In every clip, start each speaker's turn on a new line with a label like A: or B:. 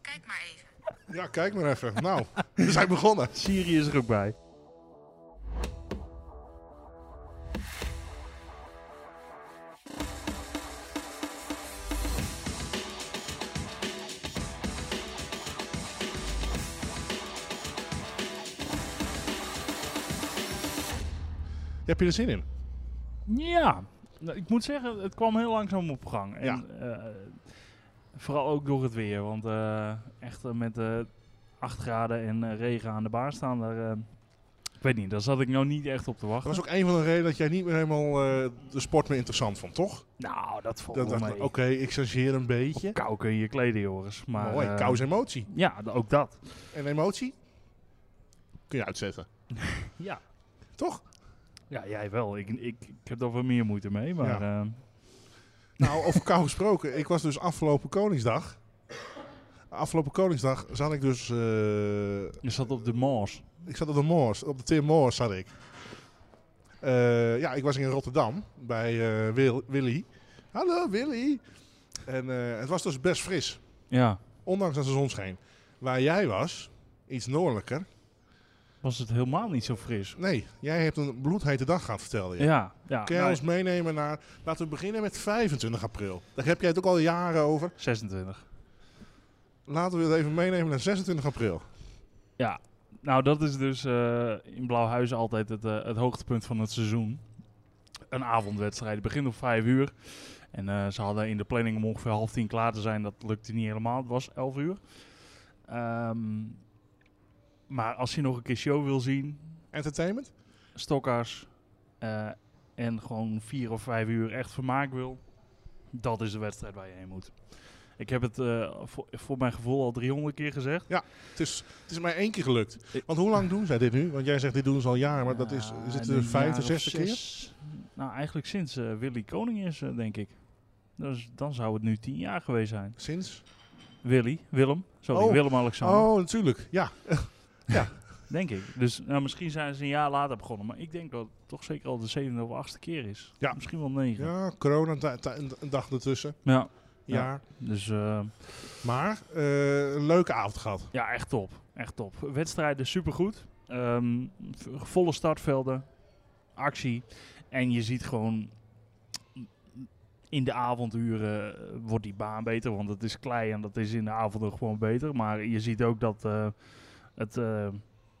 A: Kijk maar even.
B: Ja, kijk maar even. Nou, we zijn begonnen.
C: Siri is er ook bij.
B: Heb je er zin in?
C: Ja, nou, ik moet zeggen, het kwam heel langzaam op gang. En,
B: Ja.
C: eh, vooral ook door het weer, want eh, echt eh, met eh 8 graden en eh, regen aan de baan staan, daar, eh, ik weet niet, daar zat ik nou niet echt op te
B: Dat
C: wachten.
B: was ook een van de redenen dat jij niet meer helemaal eh, de sport meer interessant vond, toch?
C: Nou, dat valt
B: Dat
C: wel
B: dacht Oh, ik,
C: mee.
B: oké, ik changeer een beetje.
C: Kou kun je je kleden, Joris. Maar,
B: Mooi,
C: eh,
B: kou is emotie.
C: Ja, d- ook dat.
B: En emotie kun je uitzetten,
C: Ja.
B: toch?
C: ja, jij wel. Ik, ik, ik heb daar wel meer moeite mee, maar... eh,
B: Nou, over kou gesproken. Ik was dus afgelopen Koningsdag. Afgelopen Koningsdag zat ik dus... eh,
C: je zat op de Mars.
B: ik zat op de Moors, op de Tim Moors zat ik. Eh, ja, ik was in Rotterdam bij eh, Wil- Willy. Hallo Willy! En eh, het was dus best fris.
C: Ja,
B: Ondanks dat de zon scheen. Waar jij was, iets noordelijker.
C: was het helemaal niet zo fris.
B: Nee, jij hebt een bloedhete dag gehad, vertelde je.
C: Ja, ja.
B: Kun jij
C: nou,
B: ons meenemen naar... Laten we beginnen met 25 april. Daar heb jij het ook al jaren
C: nou,
B: over.
C: 26.
B: Laten we het even meenemen naar 26 april.
C: Nou, dat is dus eh, in Blauwhuizen altijd het, eh, het hoogtepunt van het seizoen. Een avondwedstrijd. Het begint om vijf uur. En eh, ze hadden in de planning om ongeveer half tien klaar te zijn. Dat lukte niet helemaal. Het was elf uur. Ehm, maar als je nog een keer show wil zien,
B: Entertainment?
C: stokkers eh, en gewoon vier of vijf uur echt vermaak wil, dat is de wedstrijd waar je heen moet. Ik heb het eh, voor, voor mijn gevoel al 300 keer gezegd.
B: Het is, het is maar één keer gelukt. Want hoe lang doen zij dit nu? Want jij zegt dit doen ze al jaren, maar dat is, is het
C: Ja,
B: de
C: een jaar
B: vijfde,
C: of
B: zesde keer?
C: zes. Nou, eigenlijk sinds eh, Willy Koning is, eh, denk ik. Dus dan zou het nu tien jaar geweest zijn.
B: Sinds?
C: Willy, Willem, sorry,
B: Oh.
C: Willem-Alexander,
B: Oh, natuurlijk. Ja.
C: denk ik. Dus nou, misschien zijn ze een jaar later begonnen. Maar ik denk dat het toch zeker al de zevende of achtste keer is.
B: Ja.
C: Misschien wel negen. Ja.
B: Ja, corona, ta- ta- een een dag ertussen.
C: Ja.
B: Ja.
C: dus eh,
B: Maar, eh, een leuke avond gehad.
C: ja, echt top. Echt top. Wedstrijden supergoed. Ehm, v- volle startvelden. Actie. En je ziet gewoon in de avonduren eh, wordt die baan beter, want het is klei en dat is in de avonden gewoon beter. Maar je ziet ook dat eh, het, eh,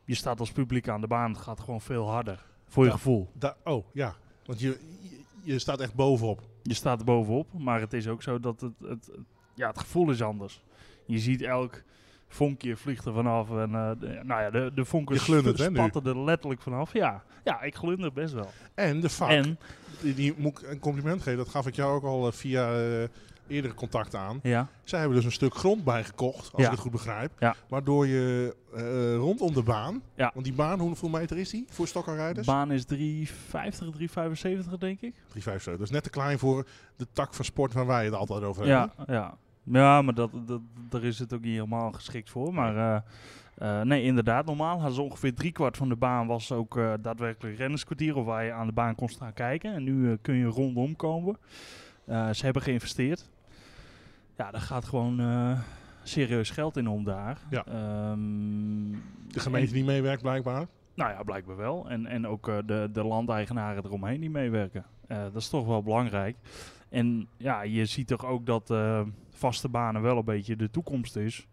C: je staat als publiek aan de baan, het gaat gewoon veel harder. Voor je
B: Ja.
C: gevoel.
B: Da- oh, ja. Want je, je, je staat echt bovenop.
C: Je staat er bovenop, maar het is ook zo dat het, het, het- ja, het gevoel is anders. Je ziet elk vonkje vliegt er vanaf. En, eh, de- nou ja, de, de vonken
B: Je glundert, hè, nu?
C: spatten er letterlijk vanaf. Ja, ja ik glunder best wel.
B: En de vak.
C: En,
B: Die, die moet ik een compliment geven. Dat gaf ik jou ook al eh, via eh, eerdere contacten aan.
C: ja,
B: Zij hebben dus een stuk grond bijgekocht, als
C: Ja.
B: ik het goed begrijp.
C: Ja.
B: Waardoor je eh, rondom de baan...
C: Ja.
B: Want die baan, hoeveel meter is die voor stokkenrijders?
C: baan is 3,50, 3,75 denk ik.
B: 3,5 zo. Dat is net te klein voor de tak van sport waar wij het altijd over hebben.
C: Ja, ja. ja maar dat, dat, daar is het ook niet helemaal geschikt voor. Maar eh, eh, nee, inderdaad, normaal hadden ze ongeveer driekwart van de baan was ook eh, daadwerkelijk rennerskwartier of waar je aan de baan kon staan kijken. En nu eh, kun je rondom komen. Eh, ze hebben geïnvesteerd. Ja, daar gaat gewoon eh, serieus geld in om daar.
B: Ja.
C: Ehm,
B: De gemeente
C: en-
B: die meewerkt blijkbaar.
C: nou ja, blijkbaar wel. En, en ook eh, de, de landeigenaren eromheen die meewerken. Eh, dat is toch wel belangrijk. En ja, je ziet toch ook dat eh, vaste banen wel een beetje de toekomst is.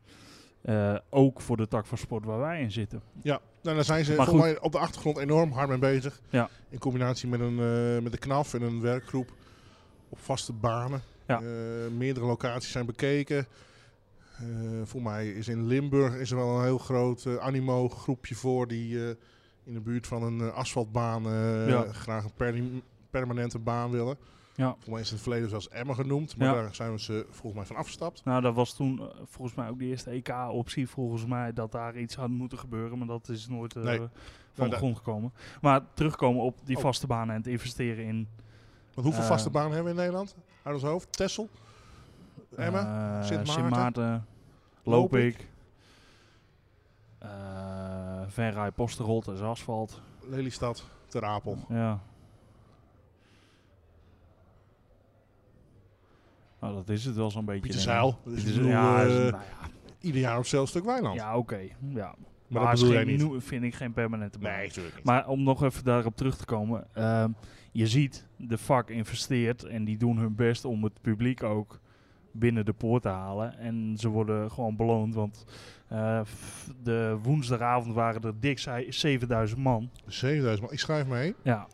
C: Eh, ook voor de tak van sport waar wij in zitten.
B: Ja, nou, daar zijn ze
C: Maar
B: volgens mij op de achtergrond enorm hard mee bezig.
C: Ja.
B: In combinatie met een, eh, met een KNAF en een werkgroep op vaste banen.
C: Ja.
B: Eh, meerdere locaties zijn bekeken. Eh voor mij is in Limburg is er wel een heel groot eh, animo groepje voor die eh, in de buurt van een eh, asfaltbaan eh,
C: Ja.
B: graag een perni- permanente baan willen.
C: Ja.
B: Voor mij is het in het verleden zelfs Emmen genoemd, maar
C: Ja.
B: daar zijn we ze volgens mij van afgestapt.
C: Nou, dat was toen eh, volgens mij ook de eerste EK-optie. Volgens mij dat daar iets had moeten gebeuren. Maar dat is nooit eh,
B: Nee. Nou,
C: van
B: dat-
C: de grond gekomen. Maar terugkomen op die
B: Oh.
C: vaste banen en het investeren in...
B: Want hoeveel
C: Eh,
B: vaste banen hebben we in Nederland? Uit ons hoofd, Tessel, Emmen,
C: Eh,
B: Sint Maarten.
C: Loop
B: Loop
C: ik. Eh, Venray, Posterholt is asfalt.
B: Lelystad, Ter Apel.
C: Ja. Nou, dat is het wel zo'n beetje.
B: Pieter
C: denk ik. Nou,
B: Zeil. Dus ik
C: Pieter Zeil,
B: bedoel,
C: ja,
B: eh,
C: is- nou ja.
B: ieder jaar op hetzelfde stuk weiland.
C: Ja, oké. Ja.
B: eh, maar,
C: Maar
B: dat
C: is
B: bedoel jij
C: geen
B: niet.
C: nieuwe- vind ik geen permanente baan.
B: Nee, natuurlijk niet.
C: Maar om nog even daarop terug te komen. ehm, je ziet, de vak investeert en die doen hun best om het publiek ook binnen de poort te halen. En ze worden gewoon beloond, want eh, f- de woensdagavond waren er dik zei- 7000 man.
B: 7000 man. Ik schrijf mee.
C: Ja.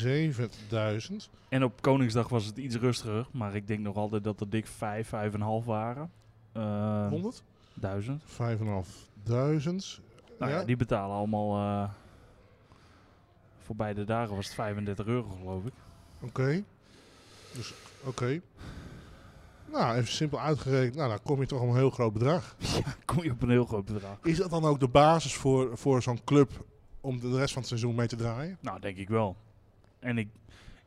B: 7000.
C: En op Koningsdag was het iets rustiger, maar ik denk nog altijd dat er dik 5, 5,5 waren. Eh,
B: 100?
C: duizend.
B: 5500.
C: Nou ja,
B: Ja.
C: die betalen allemaal. eh, voor beide dagen was het 35 euro, geloof ik.
B: Oké. Dus, oké. Nou, even simpel uitgerekend. Nou, dan kom je toch op een heel groot bedrag.
C: Kom je op een heel groot bedrag.
B: Is dat dan ook de basis voor, voor zo'n club om de rest van het seizoen mee te draaien?
C: Nou, denk ik wel. En ik,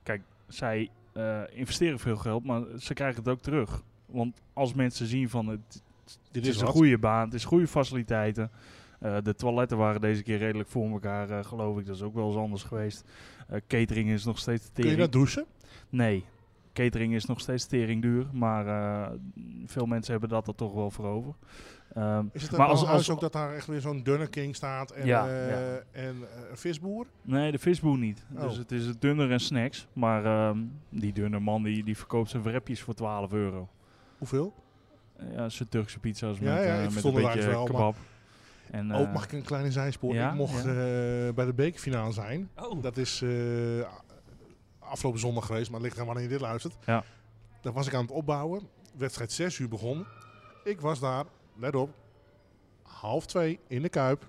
C: kijk, zij eh, investeren veel geld, maar ze krijgen het ook terug. Want als mensen zien van het,
B: Dit
C: het is een goede baan, het is goede faciliteiten. Eh, de toiletten waren deze keer redelijk voor elkaar, eh, geloof ik. Dat is ook wel eens anders geweest. Eh, catering is nog steeds
B: Kun je
C: tering.
B: dat douchen?
C: Nee, catering is nog steeds tering duur, maar eh, veel mensen hebben dat er toch wel voor over. Ehm,
B: Is het dan
C: Maar
B: als,
C: als- als-
B: ook dat daar echt weer zo'n dunne king staat en,
C: Ja,
B: eh,
C: ja.
B: en eh, een visboer?
C: Nee, de visboer niet.
B: Oh.
C: Dus het is het dunner en snacks. Maar ehm, die dunne man die, die verkoopt zijn wrapjes voor 12 euro.
B: Hoeveel?
C: Eh, Ja, zijn Turkse pizza's
B: Ja,
C: met,
B: ja,
C: eh,
B: ik
C: met een
B: verstond het
C: beetje
B: eigenlijk wel,
C: kebab. En,
B: Ook
C: eh,
B: Oh, mag ik een kleine zijspoor?
C: ja,
B: ik mocht
C: ja.
B: eh, bij de bekerfinale zijn.
C: oh.
B: Dat is eh, a- afgelopen zondag geweest, maar het ligt aan wanneer je dit luistert.
C: Ja.
B: Daar was ik aan het opbouwen. Wedstrijd 6 uur begon. Ik was daar, let op, half twee in de Kuip.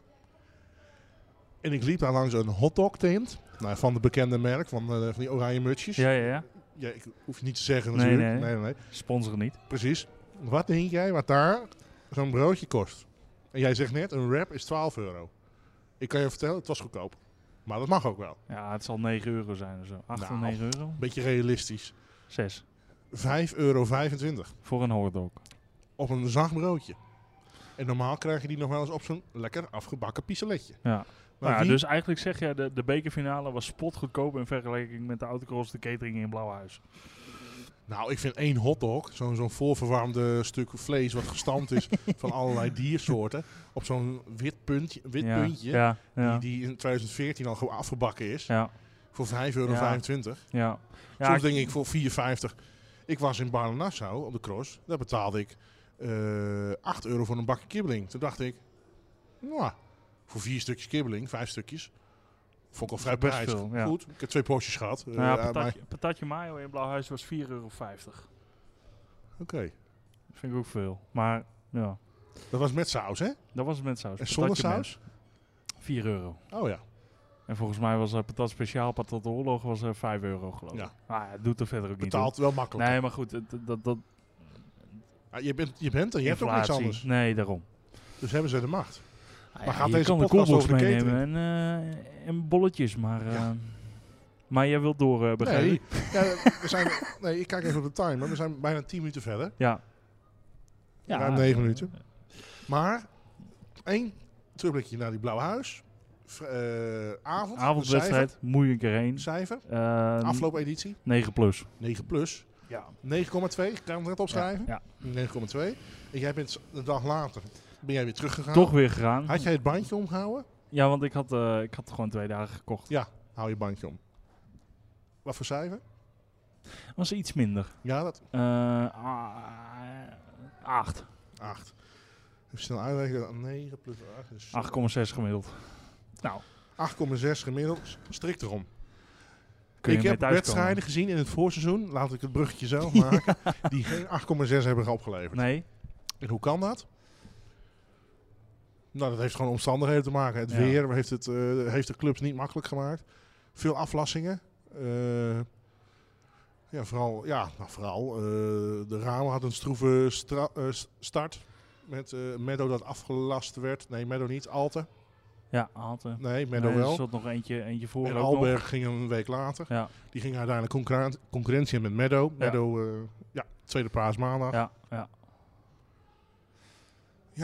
B: En ik liep daar langs een hotdog tent. Nou, van de bekende merk, van, eh, van die oranje mutsjes.
C: Ja, ja, ja.
B: Ja, ik hoef je niet te zeggen
C: Nee,
B: natuurlijk.
C: nee.
B: nee, nee.
C: Sponsor niet.
B: Precies. Wat denk jij wat daar zo'n broodje kost? En jij zegt net, een wrap is 12 euro. Ik kan je vertellen, het was goedkoop. Maar dat mag ook wel.
C: Ja, het zal 9 euro zijn of zo. 8 of
B: Nou.
C: 9 euro?
B: Beetje realistisch.
C: 6.
B: 5,25 euro
C: Voor een hotdog.
B: op een zacht broodje. En normaal krijg je die nog wel eens op zo'n lekker afgebakken piseletje.
C: Ja.
B: Maar
C: Nou, ja,
B: wie-
C: dus eigenlijk zeg je, de, de bekerfinale was spotgoedkoop in vergelijking met de autocross, de catering in Blauwhuis.
B: nou, ik vind één hotdog, zo'n zo'n voorverwarmde stuk vlees wat gestampt is van allerlei diersoorten, op zo'n wit puntje, wit
C: ja,
B: puntje
C: Ja, ja,
B: Die, die in 2014 al gewoon afgebakken is,
C: ja.
B: voor 5,25 euro.
C: ja. ja
B: Soms denk ik voor 4,50. Ik was in Barlen-Nassau op de cross. Daar betaalde ik eh 8 euro voor een bakje kibbeling. Toen dacht ik, nou, voor vier stukjes kibbeling, vijf stukjes. Vond ik al vrij
C: Best
B: prijzig.
C: veel, ja.
B: Goed, ik heb twee porties gehad. eh,
C: Nou ja,
B: aan mij.
C: patatje, patatje mayo in Blauwhuis was 4,50 euro. Dat
B: Oké,
C: vind ik ook veel. Maar ja,
B: dat was met saus, hè?
C: dat was het met saus.
B: En zonder
C: Patatje met
B: saus?
C: 4 euro.
B: Oh ja.
C: En volgens mij was dat patat speciaal, patat de oorlog, was eh 5 euro geloof ik.
B: Ja.
C: Maar ja, het doet er verder ook
B: Betaalt wel
C: niet toe.
B: makkelijk.
C: Nee, maar goed, het- dat... dat, dat
B: Ah, je, bent, je bent er, je hebt ook niks
C: inflatie.
B: anders.
C: Nee, daarom.
B: Dus hebben ze de macht.
C: Maar
B: gaat
C: je
B: deze
C: kan de
B: podcast
C: koelbox
B: over de
C: meenemen en, eh, en bolletjes, maar... eh, maar jij wilt door, eh begrijp
B: Nee,
C: ik?
B: ja, we zijn, nee, ik kijk even op de timer. We zijn bijna 10 minuten verder.
C: Ja.
B: Ruim negen minuten. Maar één terugblikje naar die Blauwe Huis. V- eh, avond.
C: Avondwedstrijd, moet je een keer heen.
B: Cijfer. cijfer.
C: Eh,
B: Afloopeditie.
C: 9 plus.
B: 9 plus.
C: Ja.
B: 9,2. Kan je hem net opschrijven?
C: Ja.
B: 9,2. En jij bent een dag later ben jij weer teruggegaan.
C: Toch weer gegaan.
B: Had jij het bandje omgehouden?
C: Ja, want ik had, eh, ik had gewoon twee dagen gekocht.
B: Hou je bandje om. Wat voor cijfer?
C: Was iets minder.
B: Ja, dat.
C: Eh, a- acht.
B: 8. Even snel uitrekenen. 9 plus 8 is
C: 8,6 gemiddeld. Nou,
B: 8,6 gemiddeld. Strikt erom.
C: kun je
B: ik
C: mee
B: heb
C: thuiskomen.
B: wedstrijden gezien in het voorseizoen, laat ik het bruggetje zelf maken, die geen 8,6 hebben opgeleverd.
C: Nee,
B: En hoe kan dat? Nou, dat heeft gewoon omstandigheden te maken. Het
C: Ja.
B: weer heeft, het, eh, heeft de clubs niet makkelijk gemaakt. Veel aflassingen. Eh, ja, vooral, ja, nou, vooral eh, de Rama had een stroeve stra- eh, s- start. Met eh Meadow dat afgelast werd. Nee, Meadow niet. Alte.
C: ja, Aalte.
B: Nee,
C: Nee,
B: Meadow
C: Er
B: wel.
C: zat nog eentje, eentje voor
B: En
C: ook nog.
B: Alberg ging een week later.
C: Ja.
B: Die ging uiteindelijk concurrent, concurrentie in met Meadow. Meadow, eh, ja, tweede paasmaandag. Ja.
C: Ja,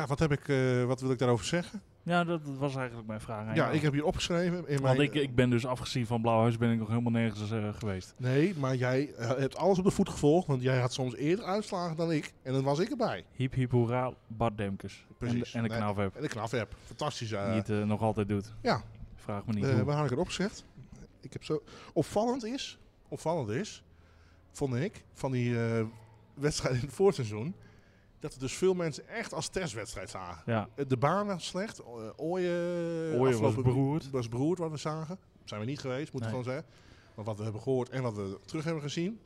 C: ja.
B: wat, heb ik, eh, wat wil ik daarover zeggen?
C: Ja, dat, dat was eigenlijk mijn vraag. aan
B: Ja,
C: jou.
B: ik heb hier opgeschreven. In mijn, eh,
C: Want ik, ik ben dus afgezien van Blauwhuis ben ik nog helemaal nergens eh, geweest.
B: Nee, maar jij eh, hebt alles op de voet gevolgd. Want jij had soms eerder uitslagen dan ik. En dan was ik erbij.
C: Hiep hiep hoera, Bart Demkes.
B: Precies.
C: En, de- en de
B: Nee.
C: knaf heb.
B: En de knaf heb. Fantastisch. eh,
C: die het eh, nog altijd doet.
B: ja.
C: Vraag me niet
B: Eh,
C: hoe.
B: waar had ik het opgezet? Ik heb zo... Opvallend is, opvallend is, vond ik, van die eh, wedstrijd in het voorseizoen, dat er dus veel mensen echt als testwedstrijd zagen.
C: Ja,
B: Eh, De baan was slecht, eh, Ooyen,
C: Ooyen was
B: afgelopen-
C: beroerd.
B: was beroerd wat we zagen. Zijn we niet geweest, moet ik
C: Nee.
B: gewoon zeggen. Maar wat we hebben gehoord en wat we terug hebben gezien.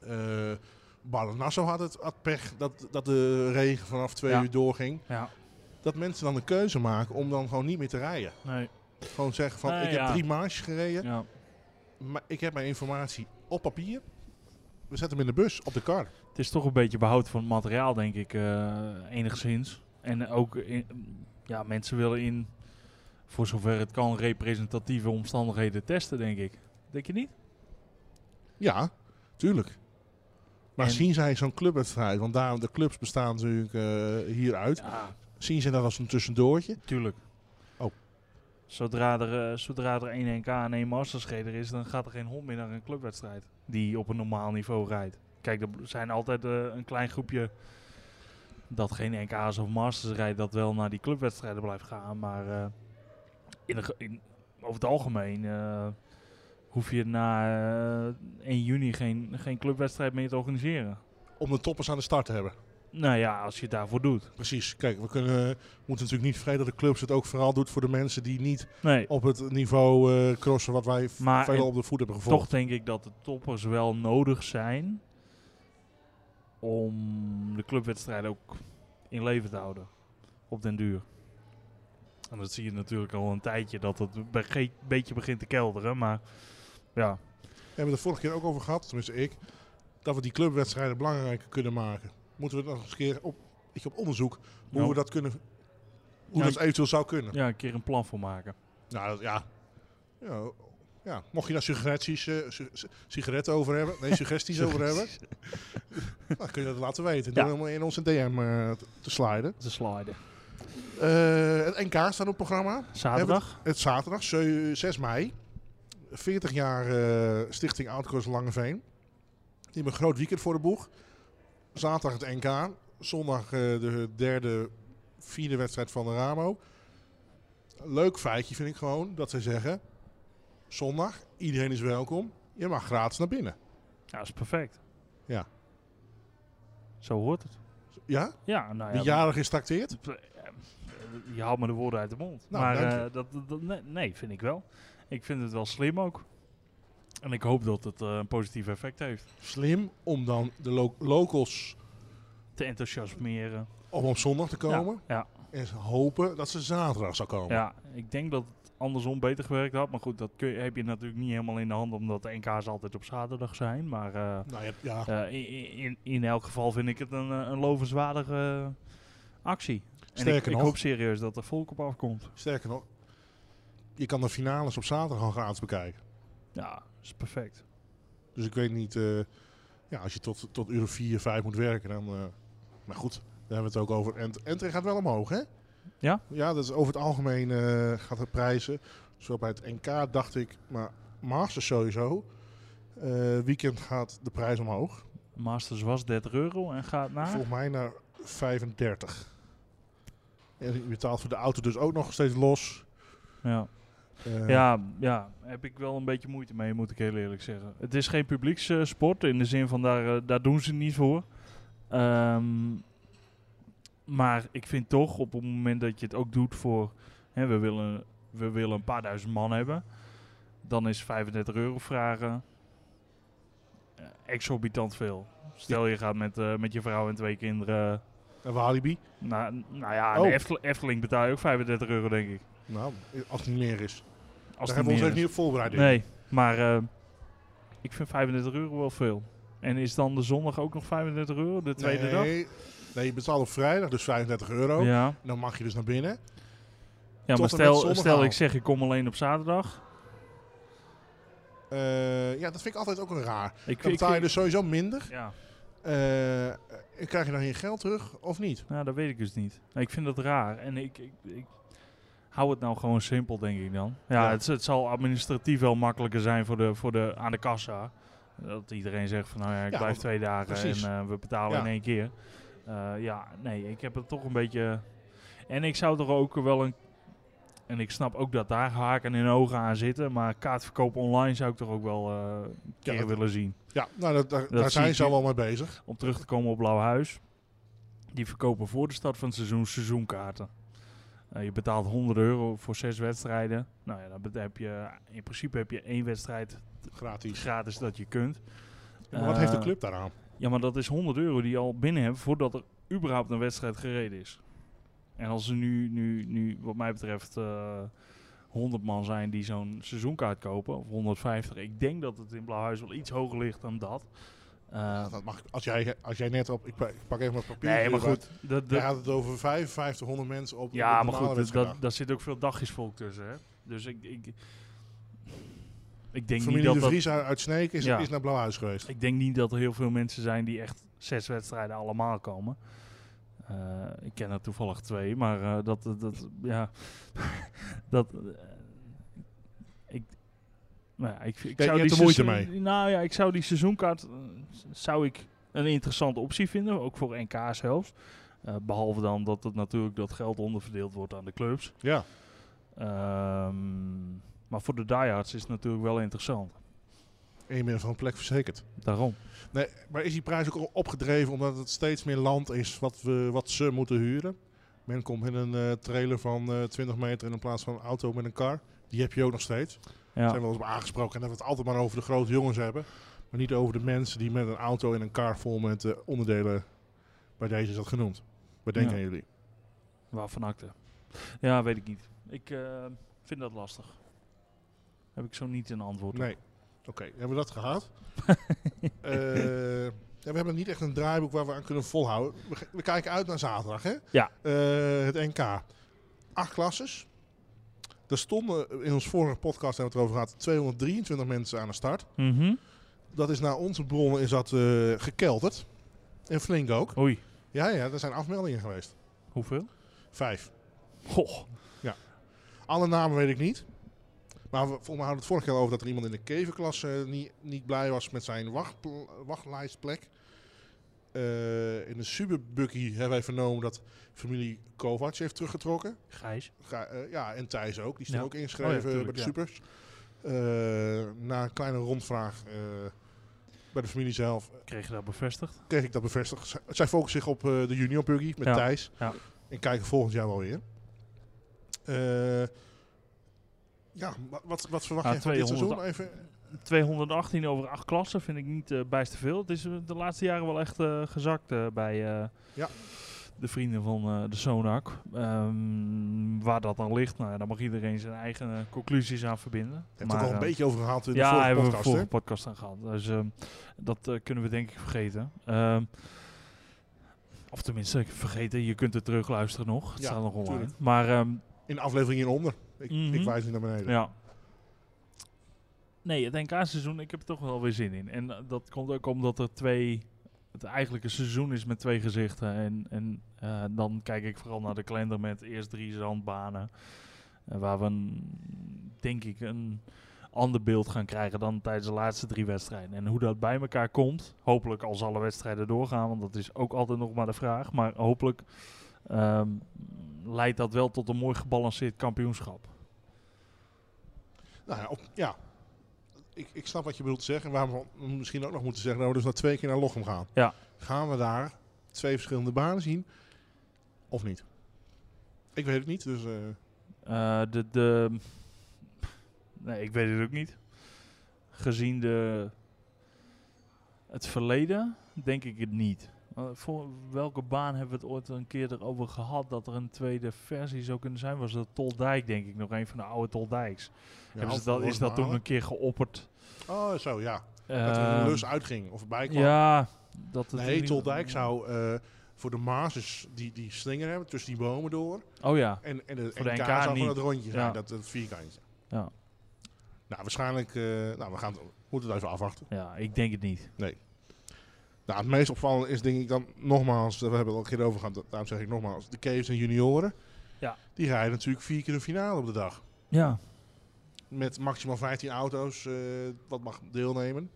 B: Eh Barlen Nassau had het had pech dat, dat de regen vanaf twee
C: Ja.
B: uur doorging.
C: ja,
B: Dat mensen dan de keuze maken om dan gewoon niet meer te rijden.
C: nee.
B: Gewoon zeggen van,
C: Nou
B: ik
C: ja.
B: heb drie maandjes gereden,
C: Ja.
B: maar ik heb mijn informatie op papier. We zetten hem in de bus, op de kar.
C: Het is toch een beetje behoud van het materiaal, denk ik, eh, enigszins. En ook, in- ja, mensen willen in, voor zover het kan, representatieve omstandigheden testen, denk ik. Denk je niet?
B: Ja, tuurlijk. Maar
C: En-
B: zien zij zo'n clubwedstrijd, want daar, de clubs bestaan natuurlijk eh, hieruit.
C: Ja,
B: Zien zij dat als een tussendoortje?
C: tuurlijk.
B: Oh.
C: Zodra er, eh, zodra er één NK en één Mastersgeder is, dan gaat er geen hond meer naar een clubwedstrijd die op een normaal niveau rijdt. Kijk, er zijn altijd eh, een klein groepje dat geen NK's of Masters rijdt, dat wel naar die clubwedstrijden blijft gaan. Maar eh, in de ge- in, over het algemeen eh, hoef je na eh, 1 juni geen, geen clubwedstrijd meer te organiseren.
B: Om de toppers aan de start te hebben.
C: Nou ja, als je het daarvoor doet.
B: Precies. Kijk, we kunnen, eh, moeten natuurlijk niet vergeten dat de clubs het ook vooral doet voor de mensen die niet
C: Nee.
B: op het niveau eh, crossen wat wij v-
C: Maar
B: veelal
C: in-
B: op de voet hebben gevolgd.
C: Toch denk ik dat de toppers wel nodig zijn om de clubwedstrijden ook in leven te houden. Op den duur. En dat zie je natuurlijk al een tijdje dat het een bege- beetje begint te kelderen. Maar ja,
B: We hebben het de vorige keer ook over gehad, tenminste ik, dat we die clubwedstrijden belangrijker kunnen maken. Moeten we dat nog eens een keer op, ik op onderzoek, hoe
C: Nou.
B: we dat kunnen, hoe
C: Ja,
B: dat eventueel zou kunnen.
C: ja, een keer een plan voor maken.
B: Nou, dat- ja. ja. Ja, mocht je daar suggesties, eh, su- su- sigaretten over hebben, nee, suggesties over hebben, dan kun je dat laten weten.
C: Ja.
B: Door helemaal in onze DM eh, te- te sliden.
C: Te sliden.
B: Eh, het NK staat op het programma.
C: Zaterdag?
B: Het is zaterdag, zeu- 6 mei. 40 jaar eh, Stichting Outcross Langeveen. Die hebben een groot weekend voor de boeg. Zaterdag het NK. Zondag eh, de derde, vierde wedstrijd van de Ramo. Leuk feitje vind ik gewoon dat zij zeggen... Zondag, iedereen is welkom. Je mag gratis naar binnen.
C: Ja, is perfect.
B: Ja.
C: Zo hoort het.
B: Ja?
C: Ja, nou ja.
B: Wie jarig is trakteerd?
C: Eh, Je haalt me de woorden uit de mond.
B: Nou,
C: maar
B: dank
C: eh,
B: je.
C: dat, dat- dat- nee, nee, vind ik wel. Ik vind het wel slim ook. En ik hoop dat het eh, een positief effect heeft.
B: Slim om dan de lo- locals
C: Te enthousiasmeren.
B: om op zondag te komen.
C: Ja,
B: En ze hopen dat ze zaterdag zou
C: ja,
B: komen.
C: ja, ik denk dat het andersom beter gewerkt had. Maar goed, dat kun je, heb je natuurlijk niet helemaal in de hand. Omdat de NK's altijd op zaterdag zijn. Maar eh,
B: Nou, ja, ja.
C: eh, in, in, in elk geval vind ik het een, eh, een lovenswaardige eh, actie. en ik,
B: Sterker
C: ik
B: nog-
C: hoop serieus dat er volk op afkomt.
B: Sterker nog, je kan de finales op zaterdag al gratis bekijken.
C: Ja, is perfect.
B: Dus ik weet niet, eh, ja, als je tot, tot uur 4, 5 moet werken, dan. eh, maar goed, daar hebben we het ook over. En Entry gaat wel omhoog, hè?
C: Ja?
B: Ja, dat is over het algemeen eh, gaat het prijzen. Zowel bij het NK dacht ik, maar Masters sowieso. Eh, weekend gaat de prijs omhoog.
C: Masters was 30 euro en gaat naar...
B: Volgens mij naar 35. En je betaalt voor de auto dus ook nog steeds los.
C: Ja.
B: Eh,
C: Ja, ja, heb ik wel een beetje moeite mee, moet ik heel eerlijk zeggen. Het is geen publiekssport, in de zin van daar, eh, daar doen ze niet voor. Ehm, maar ik vind toch, op het moment dat je het ook doet voor... Hè, we, willen, we willen een paar duizend man hebben. Dan is 35 euro vragen eh, exorbitant veel. Stel je gaat met, eh, met je vrouw en twee kinderen...
B: En Walibi.
C: Nou, nou ja,
B: Oh.
C: de Eftel- Efteling betaal je ook 35 euro, denk ik.
B: Nou, als het niet meer is.
C: Als
B: Daar hebben
C: het
B: we ons
C: meer
B: ook
C: is.
B: niet op voorbereid. denk ik.
C: Nee, maar eh, ik vind 35 euro wel veel. En is dan de zondag ook nog 35 euro, de tweede
B: nee, nee, je betaalt op vrijdag, dus 35 euro.
C: dag? Ja,
B: Dan mag je dus naar binnen.
C: ja
B: Tot
C: maar
B: en met
C: stel,
B: zondag
C: stel
B: al.
C: ik zeg ik kom alleen op zaterdag.
B: Eh, ja, dat vind ik altijd ook een raar.
C: Ik,
B: Dan
C: ik,
B: betaal je dus sowieso minder.
C: ja,
B: Eh, en krijg je dan je geld terug of niet?
C: nou, dat weet ik dus niet. Ik vind dat raar. En ik, ik, ik, Hou het nou gewoon simpel, denk ik dan. Ja,
B: Ja.
C: Het, het zal administratief wel makkelijker zijn voor de, voor de, aan de kassa. Dat iedereen zegt van, nou ja, ik
B: Ja,
C: blijf
B: want-
C: twee dagen
B: precies.
C: en eh, we betalen
B: Ja.
C: in één keer. Eh, ja, nee, ik heb het toch een beetje... En ik zou toch ook wel een... En ik snap ook dat daar haken en ogen aan zitten. Maar kaartverkoop online zou ik toch ook wel eh, een keer
B: dat-
C: willen zien.
B: Ja, nou, dat, daar, daar
C: zie
B: zijn
C: ik
B: ze al
C: nu.
B: wel mee bezig.
C: Om terug te komen op Blauw Huis. Die verkopen voor de start van het seizoen seizoenkaarten. Eh, je betaalt 100 euro voor zes wedstrijden. Nou ja, dan bet- heb je, in principe heb je één wedstrijd
B: Gratis.
C: gratis dat je kunt.
B: Maar wat heeft de
C: Eh,
B: club daaraan?
C: Ja, maar dat is 100 euro die je al binnen hebt voordat er überhaupt een wedstrijd gereden is. En als er nu, nu, nu wat mij betreft, eh 100 man zijn die zo'n seizoenkaart kopen, of 150, ik denk dat het in Blauwhuis wel iets hoger ligt dan dat. Eh,
B: Dat mag, als, jij, als jij net op... Ik pak, ik pak even wat papier.
C: nee, maar
B: hierbij.
C: goed. Dat,
B: Jij
C: dat-
B: had het over 5500 mensen op op
C: ja,
B: een
C: maar goed,
B: normale
C: dat,
B: wedstrijd.
C: dat, daar zit ook veel dagjesvolk tussen. Hè? Dus ik, ik, ik, denk niet
B: Familie
C: dat
B: De
C: dat,
B: Vries uit- uit Sneek is,
C: Ja.
B: is naar Blauwhuis geweest.
C: ik denk niet dat er heel veel mensen zijn die echt zes wedstrijden allemaal komen. Eh, ik ken er toevallig twee, maar eh, dat, dat, dat- ja, dat, eh, ik, nou ja, ik, ik
B: je
C: zou
B: hebt
C: die
B: er moeite
C: seizoen- Nou ja, ik zou die seizoenkaart, eh, z- zou ik een interessante optie vinden, ook voor NK zelfs. Eh, behalve dan dat het natuurlijk dat geld onderverdeeld wordt aan de clubs.
B: Ja,
C: Ehm, maar voor de diehards is het natuurlijk wel interessant.
B: en je bent van een plek verzekerd.
C: Daarom.
B: Nee, maar is die prijs ook opgedreven omdat het steeds meer land is wat, we, wat ze moeten huren? Men komt in een eh, trailer van eh, 20 meter in plaats van een auto met een car. Die heb je ook nog steeds.
C: Ja.
B: Daar zijn we wel eens op aangesproken. En dat we het altijd maar over de grote jongens hebben. Maar niet over de mensen die met een auto en een car vol met eh, onderdelen... Bij deze is dat genoemd. Wat denken
C: Ja.
B: jullie?
C: Waarvan acte? Ja, weet ik niet. Ik eh, vind dat lastig. Heb ik zo niet een antwoord op.
B: Nee. Oké, hebben we dat gehad? Eh, ja, we hebben niet echt een draaiboek waar we aan kunnen volhouden. We, ge- we kijken uit naar zaterdag, hè?
C: Ja.
B: Eh, het NK. Acht klasses. Er stonden in ons vorige podcast, hebben we het over gehad, 223 mensen aan de start.
C: Mhm.
B: Dat is naar onze bronnen is dat eh, gekelderd. En flink ook.
C: Oei,
B: Ja, ja, er zijn afmeldingen geweest.
C: hoeveel?
B: Vijf.
C: Goh.
B: Alle namen weet ik niet. Maar we, volgens mij hadden we het vorige keer over dat er iemand in de kevenklasse eh, niet, niet blij was met zijn wachtpl- wachtlijstplek. Eh, in de Superbucky hebben wij vernomen dat familie Kovac heeft teruggetrokken.
C: Gijs.
B: Ga- eh, ja, en Thijs ook. Die stond
C: Ja.
B: ook ingeschreven
C: Oh ja, tuurlijk,
B: bij de
C: ja.
B: Supers. Eh, na een kleine rondvraag eh, bij de familie zelf
C: Kreeg je dat bevestigd?
B: kreeg ik dat bevestigd. Z- Zij focussen zich op eh, de junior buggy met
C: Ja,
B: Thijs.
C: ja.
B: En kijken volgend jaar wel weer. Eh, ja, wa- wat, wat verwacht
C: Ah,
B: je van dit
C: 200
B: seizoen? Even,
C: 218 over acht klassen vind ik niet eh bijster veel. Het is eh, de laatste jaren wel echt eh, gezakt eh, bij eh,
B: Ja.
C: de vrienden van eh, de Sonak. Ehm, waar dat dan ligt, nou, ja, daar mag iedereen zijn eigen eh, conclusies aan verbinden.
B: heb het er al een
C: eh,
B: beetje over gehad in de
C: ja,
B: vorige
C: hebben
B: podcast.
C: we
B: hè?
C: vorige podcast aan gehad. Dus ehm, dat eh, kunnen we denk ik vergeten. Ehm, of tenminste, vergeten. Je kunt het terugluisteren nog. Het
B: Ja,
C: staat nog online.
B: tuurlijk.
C: Maar ehm,
B: In de aflevering hieronder. Ik,
C: Mhm.
B: ik wijs niet naar beneden.
C: ja. Nee, het NK-seizoen, ik heb er toch wel weer zin in. En eh, dat komt ook omdat er twee... Het eigenlijk een seizoen is met twee gezichten. En, en eh, dan kijk ik vooral naar de kalender met eerst drie zandbanen. eh, waar we, een, denk ik, een ander beeld gaan krijgen dan tijdens de laatste drie wedstrijden. En hoe dat bij elkaar komt, hopelijk als alle wedstrijden doorgaan, want dat is ook altijd nog maar de vraag. Maar hopelijk ehm, leidt dat wel tot een mooi gebalanceerd kampioenschap.
B: Nou ja, op- ja. Ik, ik snap wat je bedoelt te zeggen. En waar we misschien ook nog moeten zeggen dat we dus naar twee keer naar Lochem gaan.
C: Ja.
B: Gaan we daar twee verschillende banen zien? Of niet? Ik weet het niet, dus... eh,
C: Eh, de, de, nee, ik weet het ook niet. Gezien de, het verleden, denk ik het niet. Eh, voor welke baan hebben we het ooit een keer erover gehad dat er een tweede versie zou kunnen zijn? Was dat Toldijk, denk ik, nog een van de oude Toldijks.
B: ja,
C: Hebben
B: of
C: ze dat,
B: we
C: is dat toen
B: halen.
C: een keer geopperd?
B: Oh, zo, ja. Dat er een
C: Ehm,
B: lus uitging of erbij kwam.
C: Ja, dat het in
B: nee,
C: ieder-
B: Toldijk zou eh, voor de Maasers die, die slinger hebben tussen die bomen door.
C: Oh ja,
B: En, en de,
C: Voor de
B: NK,
C: NK
B: zou
C: niet.
B: gewoon dat rondje zijn,
C: Ja.
B: dat, dat vierkantje.
C: Ja.
B: Nou, waarschijnlijk... eh, nou, we gaan het, moeten het even afwachten.
C: ja, ik denk het niet.
B: Nou, het meest opvallende is denk ik dan nogmaals... We hebben het al een keer over gehad, daarom zeg ik nogmaals... De Caves en junioren.
C: Ja.
B: Die rijden natuurlijk vier keer de finale op de dag.
C: Ja.
B: Met maximaal 15 auto's, eh, wat mag deelnemen.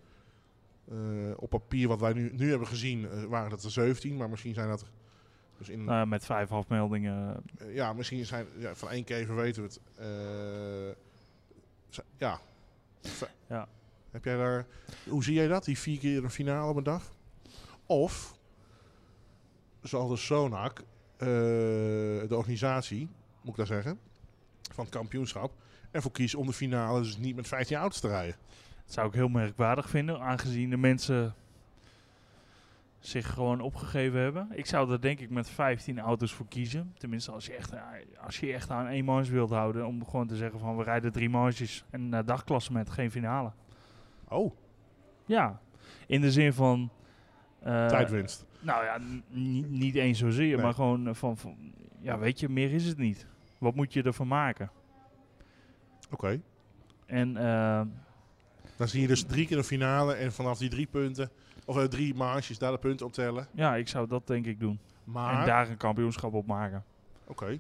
B: Eh, op papier, wat wij nu, nu hebben gezien, eh, waren dat er 17, maar misschien zijn dat. er- Dus in,
C: Nou ja, met vijf afmeldingen.
B: eh, ja, misschien zijn. Ja, van één kever weten we het. Eh, zi- ja. Zi-
C: Ja.
B: Heb jij daar. Hoe zie jij dat? Die vier keer een finale op een dag? Of. Zoals de Sonak, eh, de organisatie, moet ik daar zeggen. Van het kampioenschap. Ervoor kiest om de finale dus niet met 15 auto's te rijden.
C: Dat zou ik heel merkwaardig vinden, aangezien de mensen zich gewoon opgegeven hebben. Ik zou er denk ik met 15 auto's voor kiezen. Tenminste, als je echt, als je echt aan één manche wilt houden, om gewoon te zeggen van we rijden drie manches en eh, dagklassement, geen finale.
B: Oh,
C: Ja, in de zin van... eh,
B: tijdwinst.
C: Nou ja, n- niet- niet eens zozeer,
B: Nee.
C: maar gewoon eh, van, van... Ja, weet je, meer is het niet. Wat moet je ervan maken?
B: Oké.
C: En eh,
B: Dan zie je dus drie keer een finale en vanaf die drie punten. Of eh, drie marges daar de punten op tellen.
C: ja, ik zou dat denk ik doen. En
B: Maar.
C: daar een kampioenschap op maken.
B: Oké.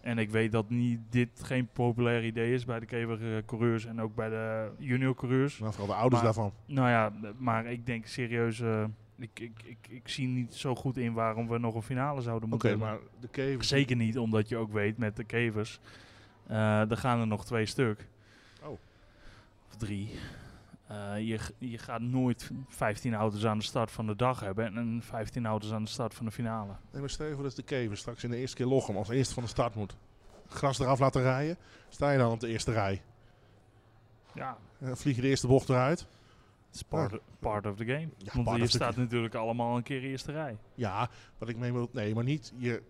C: En ik weet dat niet, dit geen populair idee is bij de keverige coureurs en ook bij de junior coureurs.
B: Nou, vooral de ouders
C: Maar-
B: daarvan.
C: Nou ja, maar ik denk serieus, eh, ik, ik, ik, ik zie niet zo goed in waarom we nog een finale zouden
B: Oké,
C: moeten hebben.
B: maar de kever.
C: Zeker niet, omdat je ook weet met de kevers, eh, er gaan er nog twee stuk.
B: Oh.
C: Of drie. Eh, je, g- je gaat nooit 15 auto's aan de start van de dag hebben en- en 15 auto's aan de start van de finale.
B: Nee, maar stel je voor dat de kever straks in de eerste keer Lochem als eerste van de start moet. Gras eraf laten rijden. Sta je dan op de eerste rij.
C: Ja,
B: En dan vlieg je de eerste bocht eruit. Nou,
C: het is part, part of the game.
B: Ja,
C: Want
B: part
C: je
B: of the
C: staat
B: game.
C: natuurlijk allemaal een keer eerste rij.
B: Ja, wat ik meen wil... Nee, maar niet... Je,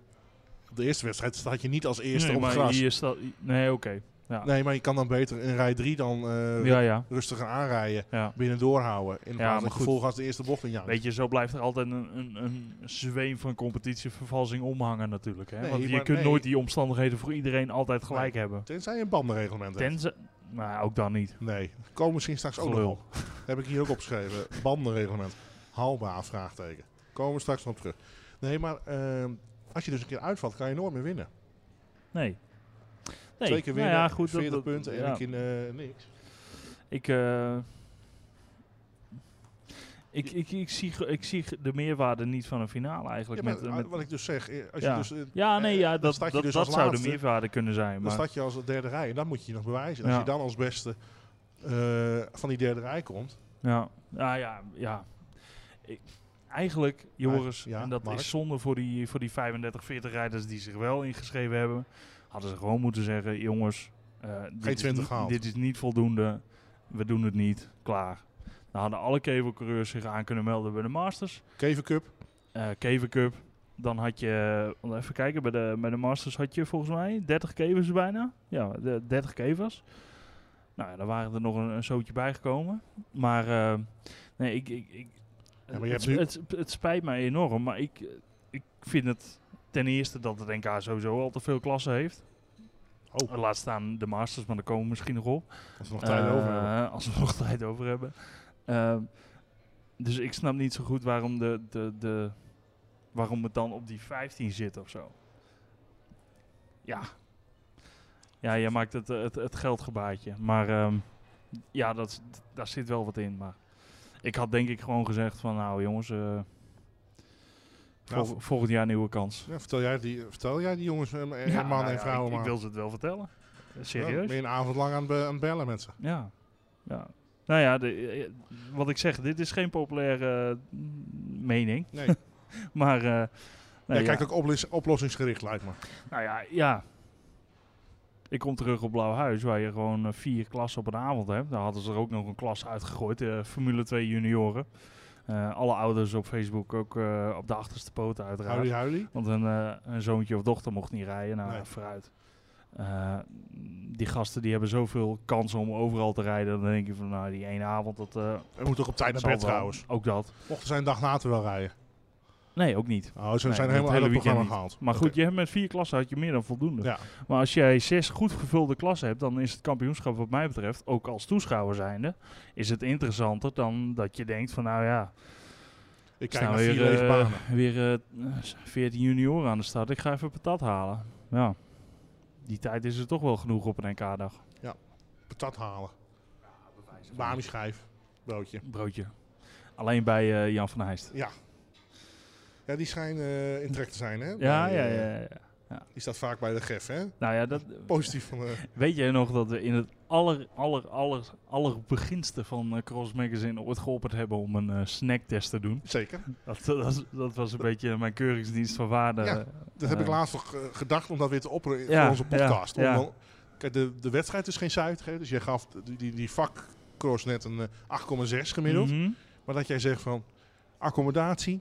B: op de eerste wedstrijd staat je niet als eerste
C: nee,
B: op
C: maar
B: gras.
C: Hier staat, nee, oké. Ja.
B: Nee, maar je kan dan beter in rij 3 dan eh
C: ja, ja,
B: rustig gaan aanrijden.
C: ja.
B: Binnen doorhouden. In plaats
C: maar
B: van dat je
C: goed.
B: volgas de eerste bocht in jankt.
C: Weet je, zo blijft er altijd een, een, een zweem van competitievervalsing omhangen natuurlijk. Hè?
B: Nee,
C: Want je
B: maar
C: kunt
B: nee.
C: nooit die omstandigheden voor iedereen altijd gelijk hebben.
B: Tenzij je een bandenreglement hebt.
C: Tenzij... Nou, ook dan niet.
B: Nee, komen misschien straks ook nog
C: Gelul.
B: op. Heb ik hier ook opgeschreven. Bandenreglement. Haalbaar, vraagteken. Komen we straks nog op terug. Nee, maar ehm, als je dus een keer uitvalt, kan je nooit meer winnen.
C: Nee. Nee.
B: Twee keer
C: nou
B: winnen,
C: ja, goed, dat-
B: 40
C: dat-
B: punten en
C: ja.
B: een keer eh, niks.
C: Ik, eh, ik, ik, ik, zie, ge- ik zie ge- de meerwaarde niet van een finale
B: Ja,
C: eigenlijk.
B: maar,
C: met, eh,
B: eh,
C: met-
B: wat ik dus zeg, eh, als
C: Ja.
B: je dus, eh,
C: ja, nee,
B: eh,
C: ja,
B: dan
C: dat,
B: staat je
C: dat,
B: dus
C: dat
B: als
C: zou de
B: laatste.
C: meerwaarde kunnen zijn.
B: dan
C: Maar,
B: staat je als derde rij en dan moet je je nog bewijzen. Als
C: Ja.
B: je dan als beste eh, van die derde rij komt,
C: Ja, ah, ja, ja. Ik- eigenlijk, Joris,
B: ja,
C: en dat
B: Mark?
C: is zonde voor die, voor die 35, 40 rijders die zich wel ingeschreven hebben. Hadden ze gewoon moeten zeggen, jongens, eh, dit, is,
B: 20
C: ni-
B: gehaald.
C: dit is niet voldoende. We doen het niet. Klaar. Dan hadden alle kevelcoureurs zich aan kunnen melden bij de Masters.
B: Kever Cup,
C: eh Kever Cup. Dan had je, want even kijken, bij de, bij de Masters had je volgens mij 30 kevers bijna. Ja, de, 30 kevers. Nou, ja, daar waren er nog een, een zootje bijgekomen. Maar eh, nee, ik, ik, ik
B: maar je
C: het,
B: hebt nu-
C: het, het spijt mij enorm, maar ik, eh, ik vind het ten eerste dat het NK sowieso al te veel klassen heeft.
B: Oh.
C: Laat staan de Masters, maar daar komen we misschien nog op.
B: als we nog tijd over hebben.
C: Eh, Als we nog tijd over hebben. Ehm, dus ik snap niet zo goed waarom, de, de, de, waarom het dan op die 15 zit of zo. Ja. Ja, jij maakt het, eh, het, het geldgebaatje. Maar ehm, ja, dat, is- daar zit wel wat in. Maar ik had denk ik gewoon gezegd van nou jongens, eh, vol-
B: Nou, v-
C: volgend jaar nieuwe kans.
B: Ja, vertel, jij die, vertel jij die jongens, en en
C: Ja,
B: mannen
C: nou
B: en
C: ja,
B: vrouwen
C: ik, ik
B: maar.
C: wil ze het wel vertellen.
B: Ja,
C: Serieus.
B: ben je een avond lang aan, het be- aan het bellen met ze.
C: Ja. ja. Nou ja, de, eh, wat ik zeg, dit is geen populaire eh, m- mening.
B: Nee, jij
C: Maar. eh, nou, ja,
B: kijkt ook oplos- oplossingsgericht, lijkt me.
C: nou ja, ja. Ik kom terug op Blauw Huis, waar je gewoon eh, vier klassen op een avond hebt. Daar hadden ze er ook nog een klas uitgegooid, de Formule 2 junioren. Eh, alle ouders op Facebook ook eh, op de achterste poten uiteraard.
B: Huilie, huilie.
C: Want een, eh, een zoontje of dochter mocht niet rijden. Nou,
B: Nee.
C: vooruit. Eh, die gasten die hebben zoveel kansen om overal te rijden. Dan denk je van, nou, die ene avond, dat, eh,
B: We moeten ook op tijd naar
C: Zal
B: bed
C: wel.
B: trouwens.
C: Ook dat.
B: Mochten zij een dag later wel rijden.
C: Nee, ook niet.
B: Oh, ze
C: Nee,
B: zijn
C: het
B: helemaal uit het
C: hele weekend
B: programma
C: niet.
B: gehaald.
C: Maar
B: Oké.
C: goed, je hebt met vier klassen had je meer dan voldoende.
B: Ja.
C: Maar als jij zes goed gevulde klassen hebt, dan is het kampioenschap wat mij betreft, ook als toeschouwer zijnde, is het interessanter dan dat je denkt van nou ja,
B: Ik
C: er
B: kijk
C: staan
B: naar
C: weer,
B: vier lege
C: eh,
B: banen.
C: weer eh, 14 junioren aan de start. Ik ga even patat halen. Ja, die tijd is er toch wel genoeg op een NK-dag.
B: Patat halen. Bami schijf. Broodje.
C: Broodje. Alleen bij eh, Jan van Heijst.
B: Ja. Ja, die schijnen eh, in trek te zijn, hè?
C: Ja,
B: Bij,
C: ja,
B: eh,
C: ja, ja.
B: Die staat vaak bij de gef, hè?
C: Nou ja, dat,
B: Positief van eh, de...
C: weet jij nog dat we in het aller, aller, aller, aller beginste van eh, Cross Magazine ooit geopperd hebben om een eh, snacktest te doen?
B: Zeker.
C: Dat, dat, was- dat was een beetje mijn keuringsdienst van waarde.
B: Ja, Dat heb ik
C: Eh.
B: laatst nog eh, gedacht om dat weer te opperen
C: Ja,
B: voor onze podcast.
C: ja,
B: Om
C: ja.
B: dan- kijk, de, de wedstrijd is geen cijfer, hè? dus jij gaf die, die, die vakcross net een eh, 8,6 gemiddeld.
C: Mhm.
B: Maar dat jij zegt van, accommodatie,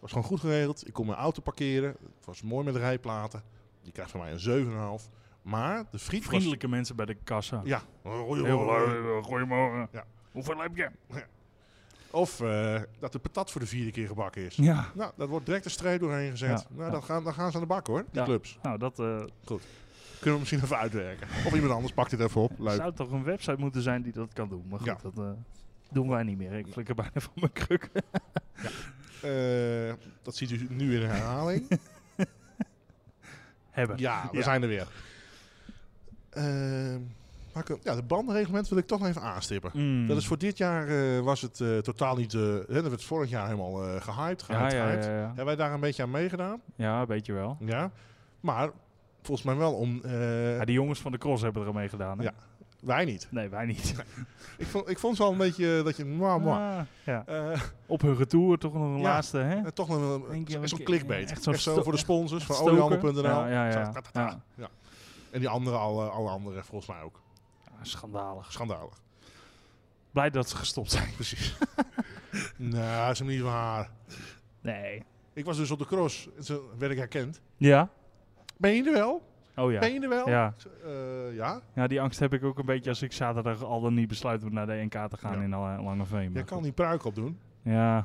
B: was gewoon goed geregeld. Ik kon mijn auto parkeren, het was mooi met rijplaten. Die krijgt van mij een 7,5. Maar de friet was-
C: Vriendelijke mensen bij de kassa.
B: Ja. Hoi, hoi,
C: Heel
B: hoi.
C: leuk, goedemorgen.
B: Ja.
C: Hoeveel heb je?
B: Of eh, dat de patat voor de vierde keer gebakken is.
C: Ja.
B: Nou, dat wordt direct een streep doorheen gezet.
C: Ja,
B: nou,
C: ja.
B: Dan, gaan, dan gaan ze aan de bak hoor, die
C: Ja.
B: clubs.
C: Nou, dat eh,
B: Kunnen we misschien even uitwerken. Of iemand anders pakt dit even op. Leuk.
C: zou toch een website moeten zijn die dat kan doen. Maar goed,
B: Ja.
C: dat eh, doen wij niet meer. Ik flikker bijna van mijn kruk.
B: Eh, dat ziet u nu in herhaling.
C: hebben.
B: ja, we
C: Ja.
B: zijn er weer. Ehm, maar ik- ja, de bandenreglement wil ik toch nog even aanstippen.
C: Mm.
B: Dat is voor dit jaar eh, was het eh, totaal niet... eh, hè, dat werd vorig jaar helemaal eh, gehyped,
C: ja,
B: gehyped,
C: ja,
B: gehyped.
C: ja, ja.
B: Hebben wij daar een beetje aan meegedaan?
C: ja, weet je wel.
B: Ja. Maar volgens mij wel om... eh,
C: Maar die jongens van de cross hebben er al mee gedaan. Hè?
B: Ja. wij niet.
C: Nee, wij niet.
B: Ik vond, ik vond ze al een beetje eh, dat je... mwah, mwah.
C: Ah, ja.
B: Eh,
C: Op hun retour toch nog een
B: Ja.
C: laatste, hè?
B: En Eh, toch nog wel
C: Denk je,
B: een, zo'n
C: ik-
B: clickbait.
C: echt
B: Echt,
C: zo'n
B: zo
C: sto-
B: voor de sponsors van
C: Stoker.
B: oliehandel.nl.
C: Ja, ja, ja.
B: Zo, ta, ta, ta.
C: Ja.
B: Ja. En die andere, alle, alle anderen volgens mij ook.
C: Ah, schandalig.
B: Schandalig.
C: Blij dat ze gestopt zijn.
B: Precies. nou, dat is hem niet waar.
C: Nee.
B: Ik was dus op de cross. En Toen werd ik herkend.
C: Ja?
B: Ben je er wel?
C: Oh ja.
B: Ben je er wel?
C: Ja.
B: Ik zei, eh, ja.
C: ja, die angst heb ik ook een beetje als ik zaterdag al dan niet besluit om naar de NK te gaan
B: Ja.
C: in Al- Langeveen.
B: Jij
C: maar
B: kan
C: goed.
B: die pruik opdoen.
C: Ja.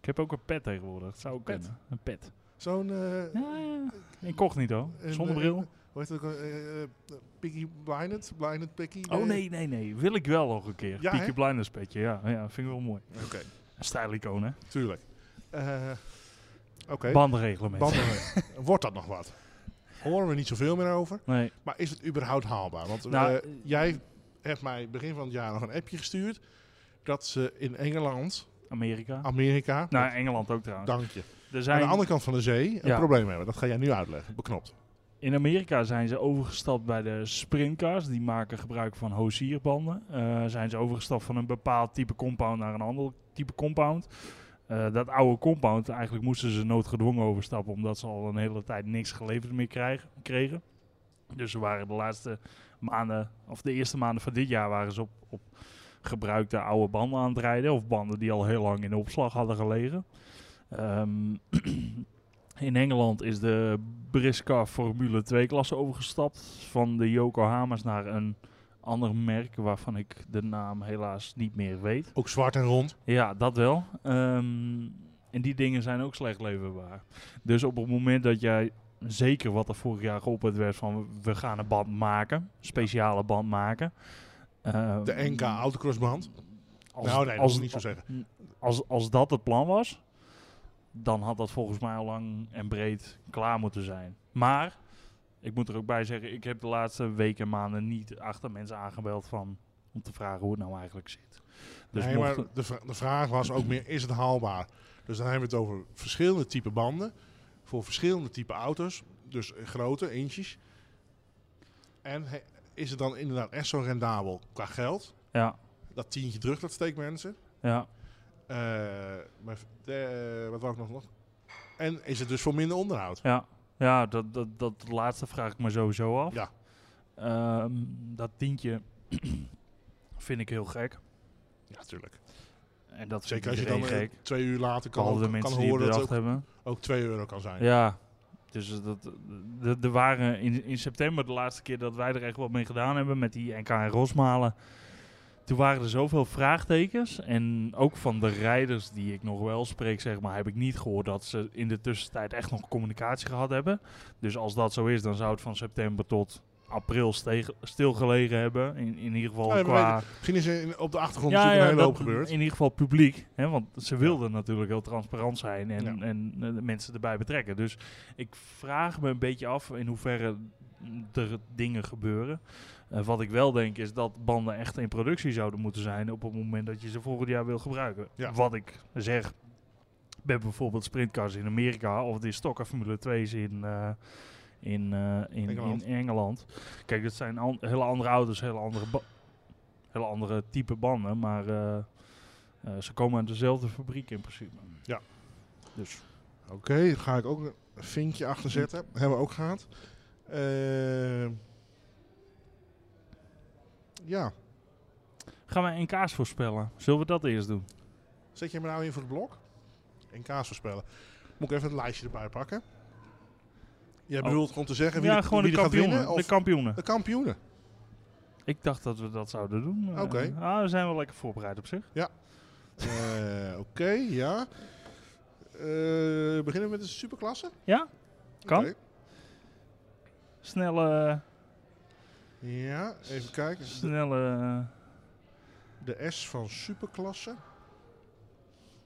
C: Ik heb ook een pet tegenwoordig. Het zou ook
B: Pet?
C: kunnen. Een pet.
B: Zo'n... eh,
C: Ja, ja. Incognito.
B: een,
C: Zonder
B: eh,
C: bril.
B: hoe heet het ook? eh, eh, Piggy Blinded? Blinded Piggy?
C: Oh nee, nee, nee. Wil ik wel nog een keer.
B: eh, Ja,
C: Peaky
B: hè?
C: Blinders petje. Ja, ja, vind ik wel mooi.
B: Oké,
C: Een stijlicoon, hè?
B: tuurlijk. Eh, Oké. eh,
C: Bandreglement.
B: Banden. Wordt dat nog wat? Horen we niet zoveel meer over.
C: nee.
B: Maar is het überhaupt haalbaar? Want
C: Nou,
B: eh, jij hebt mij begin van het jaar nog een appje gestuurd. Dat ze in Engeland,
C: Amerika.
B: Amerika,
C: nou, Engeland ook trouwens.
B: dank je.
C: Er
B: Oh. Aan
C: zijn,
B: de andere kant van de zee een
C: Ja.
B: probleem hebben. Dat ga jij nu uitleggen. Beknopt.
C: In Amerika zijn ze overgestapt bij de sprintcars. Die maken gebruik van hosierbanden. Eh, zijn ze overgestapt van een bepaald type compound naar een ander type compound. Eh, dat oude compound, eigenlijk moesten ze noodgedwongen overstappen. Omdat ze al een hele tijd niks geleverd meer krijgen, kregen. Dus ze waren de laatste maanden, of de eerste maanden van dit jaar, waren ze op, op gebruikte oude banden aan het rijden. Of banden die al heel lang in de opslag hadden gelegen. Ehm, in Engeland is de Briska Formule 2 klasse overgestapt. Van de Yokohama's naar een ander merk waarvan ik de naam helaas niet meer weet.
B: Ook zwart en rond.
C: Ja, dat wel. Ehm, en die dingen zijn ook slecht leverbaar. Dus op het moment dat jij zeker wat er vorig jaar geopperd werd van we gaan een band maken, speciale band maken. Ehm,
B: De NK autocrossband.
C: als,
B: nou nee, dat moet
C: als,
B: ik niet zo zeggen.
C: als, als dat het plan was, dan had dat volgens mij al lang en breed klaar moeten zijn. Maar, ik moet er ook bij zeggen, ik heb de laatste weken en maanden niet achter mensen aangebeld van, om te vragen hoe het nou eigenlijk zit. Dus
B: nee,
C: mocht
B: maar de, vra- de vraag was ook meer, is het haalbaar? Dus dan hebben we het over verschillende type banden. Voor verschillende type auto's. Dus eh, grote, inches. En he- is het dan inderdaad echt zo rendabel qua geld?
C: ja,
B: Dat tientje terug, dat steekt mensen.
C: ja,
B: Eh, maar v- de- eh, wat wou ik nog- nog? En is het dus voor minder onderhoud?
C: ja, ja dat, dat, dat laatste vraag ik me sowieso af.
B: Ja.
C: Ehm, dat tientje vind ik heel gek.
B: Ja, natuurlijk.
C: En dat
B: Zeker als
C: vind
B: je
C: ik dus
B: dan eh,
C: gek.
B: twee uur later kan,
C: Al de
B: kan
C: mensen die het
B: horen dat
C: bedacht
B: het ook,
C: hebben.
B: ook 2 euro kan zijn.
C: Ja, dus eh, dat, de- er waren in, in september de laatste keer dat wij er echt wat mee gedaan hebben met die NK en Rosmalen. Toen waren er zoveel vraagtekens. En ook van de rijders die ik nog wel spreek, zeg maar, heb ik niet gehoord dat ze in de tussentijd echt nog communicatie gehad hebben. Dus als dat zo is, dan zou het van september tot april stege- stilgelegen hebben. In, in ieder geval
B: Ja, we
C: qua...
B: Misschien is er in- op de achtergrond natuurlijk een hele
C: dat-
B: hoop gebeurd.
C: In ieder geval publiek. Hè, want ze wilden natuurlijk heel transparant zijn en,
B: Ja.
C: en eh, de mensen erbij betrekken. Dus ik vraag me een beetje af in hoeverre er dingen gebeuren. Eh, wat ik wel denk is dat banden echt in productie zouden moeten zijn op het moment dat je ze volgend jaar wil gebruiken.
B: Ja.
C: Wat ik zeg bij bijvoorbeeld sprintcars in Amerika of de stokken Formule 2's in, eh, in, eh, in,
B: Engeland.
C: in Engeland. Kijk, dat zijn an- hele andere auto's, hele andere, ba- hele andere type banden, maar eh, eh, ze komen uit dezelfde fabriek in principe.
B: Ja.
C: Dus
B: Oké, daar ga ik ook een vinkje achter zetten.
C: Hm.
B: Hebben we ook gehad. Eh, ja,
C: gaan wij een kaas voorspellen. Zullen we dat eerst doen?
B: zet je me nou in voor het blok? En kaas voorspellen. Moet ik even het lijstje erbij pakken? Jij
C: Oh.
B: bedoelt om te zeggen wie,
C: ja,
B: de,
C: gewoon
B: wie
C: de
B: er gaat winnen?
C: kampioenen.
B: Of
C: De kampioenen.
B: de kampioenen.
C: Ik dacht dat we dat zouden doen. Eh,
B: Oké.
C: ah, we zijn wel lekker voorbereid op zich.
B: Eh, Oké, ja. Eh, beginnen we met de superklasse?
C: Ja? Kan.
B: Oké.
C: Snelle,
B: Ja, even kijken.
C: snelle
B: De S van superklasse.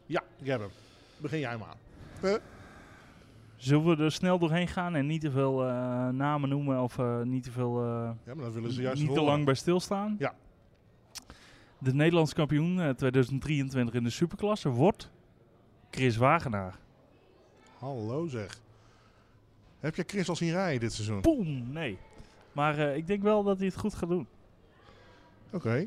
B: Ja, ik heb hem. Begin jij maar.
C: Zullen we er snel doorheen gaan en niet te veel eh, namen noemen of eh, niet te veel. eh,
B: Ja, maar dan willen ze juist
C: niet te
B: horen.
C: lang bij stilstaan?
B: Ja.
C: De Nederlands kampioen eh, 2023 in de superklasse wordt Chris Wagenaar.
B: Hallo zeg. Heb je Chris al zien rijden dit seizoen?
C: Poem, nee. Maar eh, ik denk wel dat hij het goed gaat doen.
B: Oké.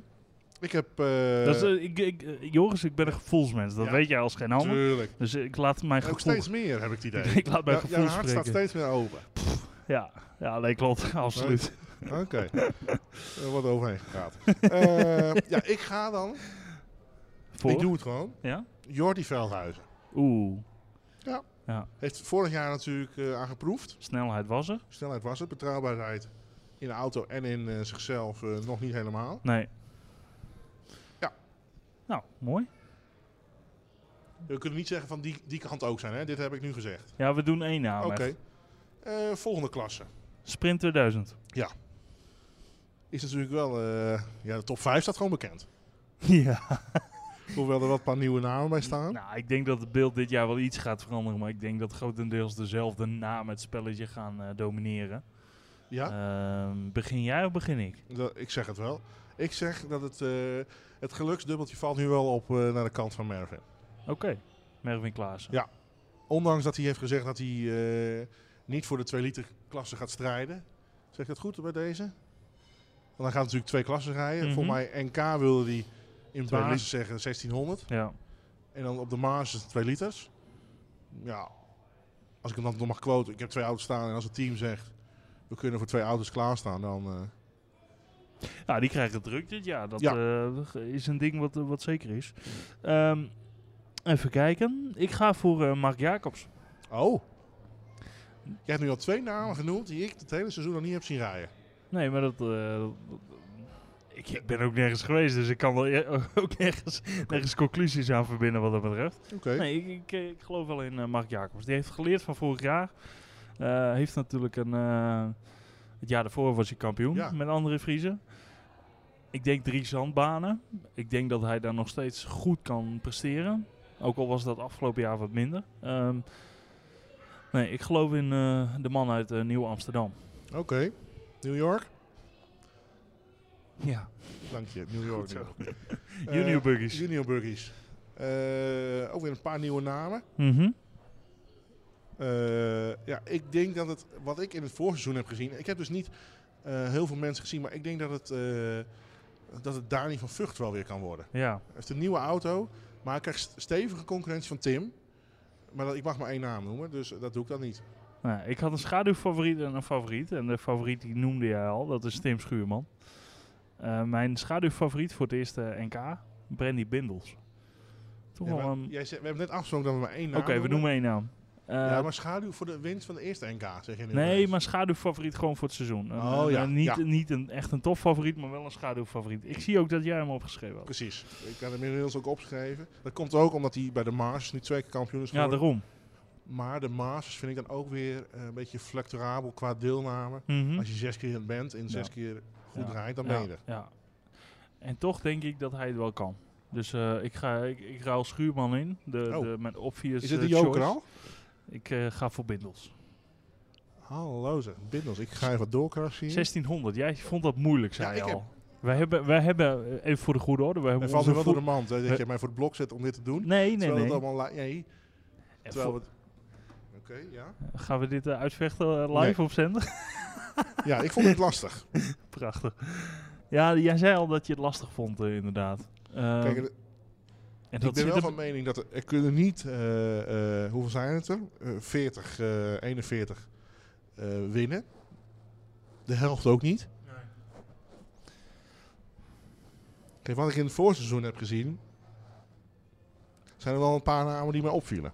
B: Ik heb... eh
C: dat is, eh, ik, ik, eh, Joris, ik ben een gevoelsmens. Dat
B: Ja.
C: weet jij als geen ander.
B: Tuurlijk.
C: Dus ik laat mijn
B: Ook
C: gevoel,
B: steeds meer, heb ik het idee.
C: ik laat mijn
B: Ja,
C: gevoel
B: jouw hart staat
C: spreken.
B: steeds meer open.
C: Ja, ja, nee, klopt. Absoluut.
B: Oké. Er wordt overheen gepraat. Eh, ja, ik ga dan.
C: Voor?
B: Ik doe het gewoon.
C: Ja?
B: Jordi Veldhuizen.
C: Oeh,
B: Heeft vorig jaar natuurlijk eh, aan geproefd.
C: snelheid was er?
B: Snelheid was het, betrouwbaarheid in de auto en in eh, zichzelf eh, nog niet helemaal.
C: Nee.
B: Ja.
C: Nou, mooi.
B: We kunnen niet zeggen van die, die kant ook zijn, hè? dit heb ik nu gezegd.
C: Ja, we doen één naam.
B: Oké.
C: echt.
B: Eh, volgende klasse.
C: Sprint 2000.
B: Is natuurlijk wel, eh, ja, de top 5 staat gewoon bekend.
C: Ja.
B: Hoewel er wat paar nieuwe namen bij staan.
C: Nou, ik denk dat het beeld dit jaar wel iets gaat veranderen. Maar ik denk dat grotendeels dezelfde namen het spelletje gaan eh, domineren.
B: Ja,
C: Ehm, begin jij of begin ik?
B: dat- ik zeg het wel. Ik zeg dat het, eh, het geluksdubbeltje valt nu wel op eh, naar de kant van Mervin.
C: Oké. Mervin Klaassen.
B: Ja. Ondanks dat hij heeft gezegd dat hij eh, niet voor de 2 liter klasse gaat strijden. Zeg ik dat goed bij deze? Want hij gaat natuurlijk twee klassen rijden.
C: Mhm.
B: Voor mij NK wilde hij in
C: Twee
B: basis zeggen 1600.
C: Ja.
B: En dan op de Maas is het 2 liters. Ja, als ik hem dan nog mag quoten. Ik heb twee auto's staan en als het team zegt... We kunnen voor twee auto's klaarstaan, dan... eh,
C: Nou, die krijgen het druk dit jaar. Dat
B: Ja.
C: eh, is een ding wat, eh, wat zeker is. Ehm, even kijken. Ik ga voor eh, Mark Jacobs.
B: Oh. Jij hebt nu al twee namen genoemd die ik het hele seizoen nog niet heb zien rijden.
C: Nee, maar dat... eh, dat- ik, ik ben ook nergens geweest, dus ik kan wel e- ook nergens, nergens conclusies aan verbinden wat dat betreft.
B: Oké.
C: Nee, ik, ik, eh, ik geloof wel in eh, Mark Jacobs. Die heeft geleerd van vorig jaar. Eh, heeft natuurlijk een... eh, het jaar daarvoor was hij kampioen
B: Ja.
C: met andere Vriezen. Ik denk drie zandbanen. Ik denk dat hij daar nog steeds goed kan presteren. Ook al was dat afgelopen jaar wat minder. Ehm, nee, ik geloof in eh, de man uit eh, Nieuw-Amsterdam.
B: Oké. New York?
C: Ja.
B: Dank je, New York.
C: Goed zo.
B: New York. Eh,
C: Junior Buggies.
B: Junior Burgies. Eh, ook weer een paar nieuwe namen.
C: Mhm.
B: Eh, ja, ik denk dat het, wat ik in het voorseizoen heb gezien, ik heb dus niet eh, heel veel mensen gezien, maar ik denk dat het, eh, dat het Dani van Vught wel weer kan worden.
C: Ja.
B: Hij heeft een nieuwe auto, maar hij krijgt st- stevige concurrentie van Tim. Maar dat, ik mag maar één naam noemen, dus dat doe ik dan niet.
C: Nou, ik had een schaduwfavoriet en een favoriet. En de favoriet die noemde jij al, dat is Tim Schuurman. Eh, mijn schaduwfavoriet voor het eerste NK, Brandy Bindels. Toch
B: Ja,
C: wel
B: maar
C: een-
B: jij zei- we hebben net afgesproken dat we maar één
C: Oké,
B: naam
C: we noemen één naam. Eh,
B: ja, maar schaduw voor de winst van de eerste NK, zeg je nu.
C: nee,
B: ineens.
C: maar schaduwfavoriet gewoon voor het seizoen. Een-
B: Oh,
C: een-
B: ja,
C: een- niet
B: ja.
C: niet een, echt een topfavoriet, maar wel een schaduwfavoriet. Ik zie ook dat jij hem opgeschreven had.
B: Precies. Ik had hem inmiddels ook opgeschreven. Dat komt ook omdat hij bij de Masters nu twee keer kampioen is
C: Ja,
B: geworden.
C: daarom.
B: maar de Masters vind ik dan ook weer eh, een beetje fluctuabel qua deelname.
C: Mhm.
B: Als je zes keer bent en zes
C: Ja.
B: keer goed
C: Ja.
B: rijdt, dan
C: ja,
B: ben je er.
C: ja. En toch denk ik dat hij het wel kan. Dus eh, ik, ga, ik, ik ruil Schuurman in. De,
B: Oh.
C: de, mijn obvious
B: Is het
C: eh,
B: de joker
C: choice.
B: al?
C: Ik eh, ga voor Bindels.
B: Ah, Hallo zeg, Bindels, ik ga even door, Krasje.
C: 1600, jij vond dat moeilijk,
B: Hm? Ja,
C: zei
B: ik
C: je
B: heb-
C: al. Wij hebben, wij hebben, eh, even voor de goede orde, we hebben
B: En valt me wel
C: onze
B: door de
C: vo-
B: mand hè, dat
C: We-
B: je mij voor het blok zet om dit te doen.
C: Nee, nee,
B: terwijl
C: nee.
B: het allemaal... la- nee,
C: Eh,
B: terwijl
C: vo-
B: het... Oké, ja.
C: Gaan we dit eh, uitvechten eh, live op zender?
B: Ja, ik vond het lastig.
C: Prachtig. Ja, jij zei al dat je het lastig vond, eh, inderdaad. Ehm,
B: Kijk,
C: en
B: ik ben
C: zit
B: wel
C: er-
B: van mening dat er, er kunnen niet, eh, eh, hoeveel zijn het er? Eh, 40, eh, 41 eh, winnen. De helft ook niet. Kijk, wat ik in het voorseizoen heb gezien, zijn er wel een paar namen die mij opvielen.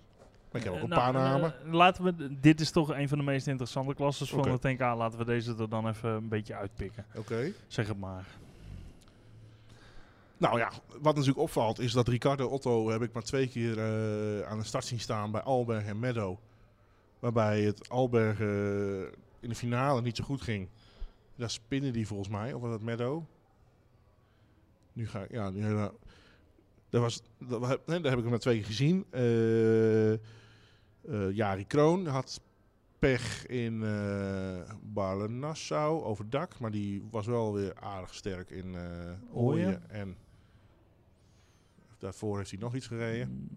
B: Maar ik heb ook
C: Eh,
B: een
C: nou,
B: paar
C: eh,
B: namen.
C: laten we, dit is toch een van de meest interessante klasses van
B: Oké.
C: de TNK. Laten we deze er dan even een beetje uitpikken.
B: Oké.
C: Zeg het maar.
B: Nou ja, wat natuurlijk opvalt is dat Ricardo Otto heb ik maar twee keer eh, aan de start zien staan bij Alberg en Meadow. Waarbij het Alberg eh, in de finale niet zo goed ging. Daar spinnen die volgens mij, of was dat Meadow? Nu ga ik, ja, nu hele... Dat was, dat, wa- nee, daar heb ik hem maar twee keer gezien. Eh, eh, Jari Kroon had pech in eh Barle-Nassau overdak, maar die was wel weer aardig sterk in eh
C: Ooyen.
B: Ooyen en daarvoor heeft hij nog iets gereden.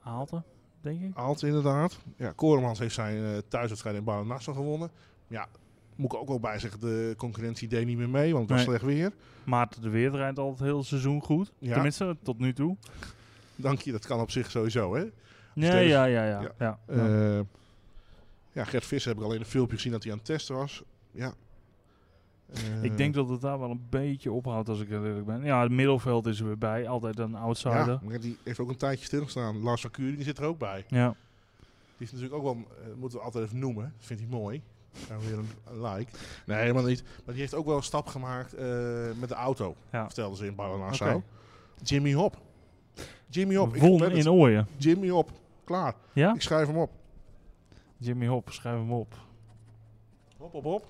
C: Haalte, Mm, denk ik.
B: Alt inderdaad. Ja, Koremans heeft zijn eh, thuiswedstrijd in Barle-Nassau gewonnen. Ja, moet ik ook wel bij zeggen, de concurrentie deed niet meer mee, want het was
C: Nee.
B: slecht weer.
C: Maarten de Weert rijdt al het hele seizoen goed.
B: Ja. Dus
C: Tenminste, tot nu toe.
B: Dank je, dat kan op zich sowieso, hè?
C: Nee,
B: tegen-
C: ja, ja, ja.
B: Ja.
C: ja. ja.
B: Eh, ja, Gert Visser heb ik al in een filmpje gezien dat hij aan het testen was. Ja. Eh,
C: ik denk dat het daar wel een beetje ophoudt als ik heel eerlijk ben. Ja, het middenveld is er weer bij. Altijd een outsider.
B: Ja, maar die heeft ook een tijdje stilgestaan. Lars van Kuring zit er ook bij.
C: Ja.
B: Die is natuurlijk ook wel, eh, moeten we altijd even noemen. Dat vindt hij mooi. Gaan we weer een, een like. Nee, helemaal niet. Maar die heeft ook wel een stap gemaakt eh, met de auto.
C: Ja.
B: Vertelden ze in
C: Oké.
B: Baranassau. Jimmy Hop. Jimmy Hop. Ik
C: Won
B: ben het.
C: in Ooyen.
B: Jimmy Hop. Klaar.
C: Ja?
B: Ik schrijf hem op.
C: Jimmy Hop, schrijf hem op.
B: Hop, hop, hop.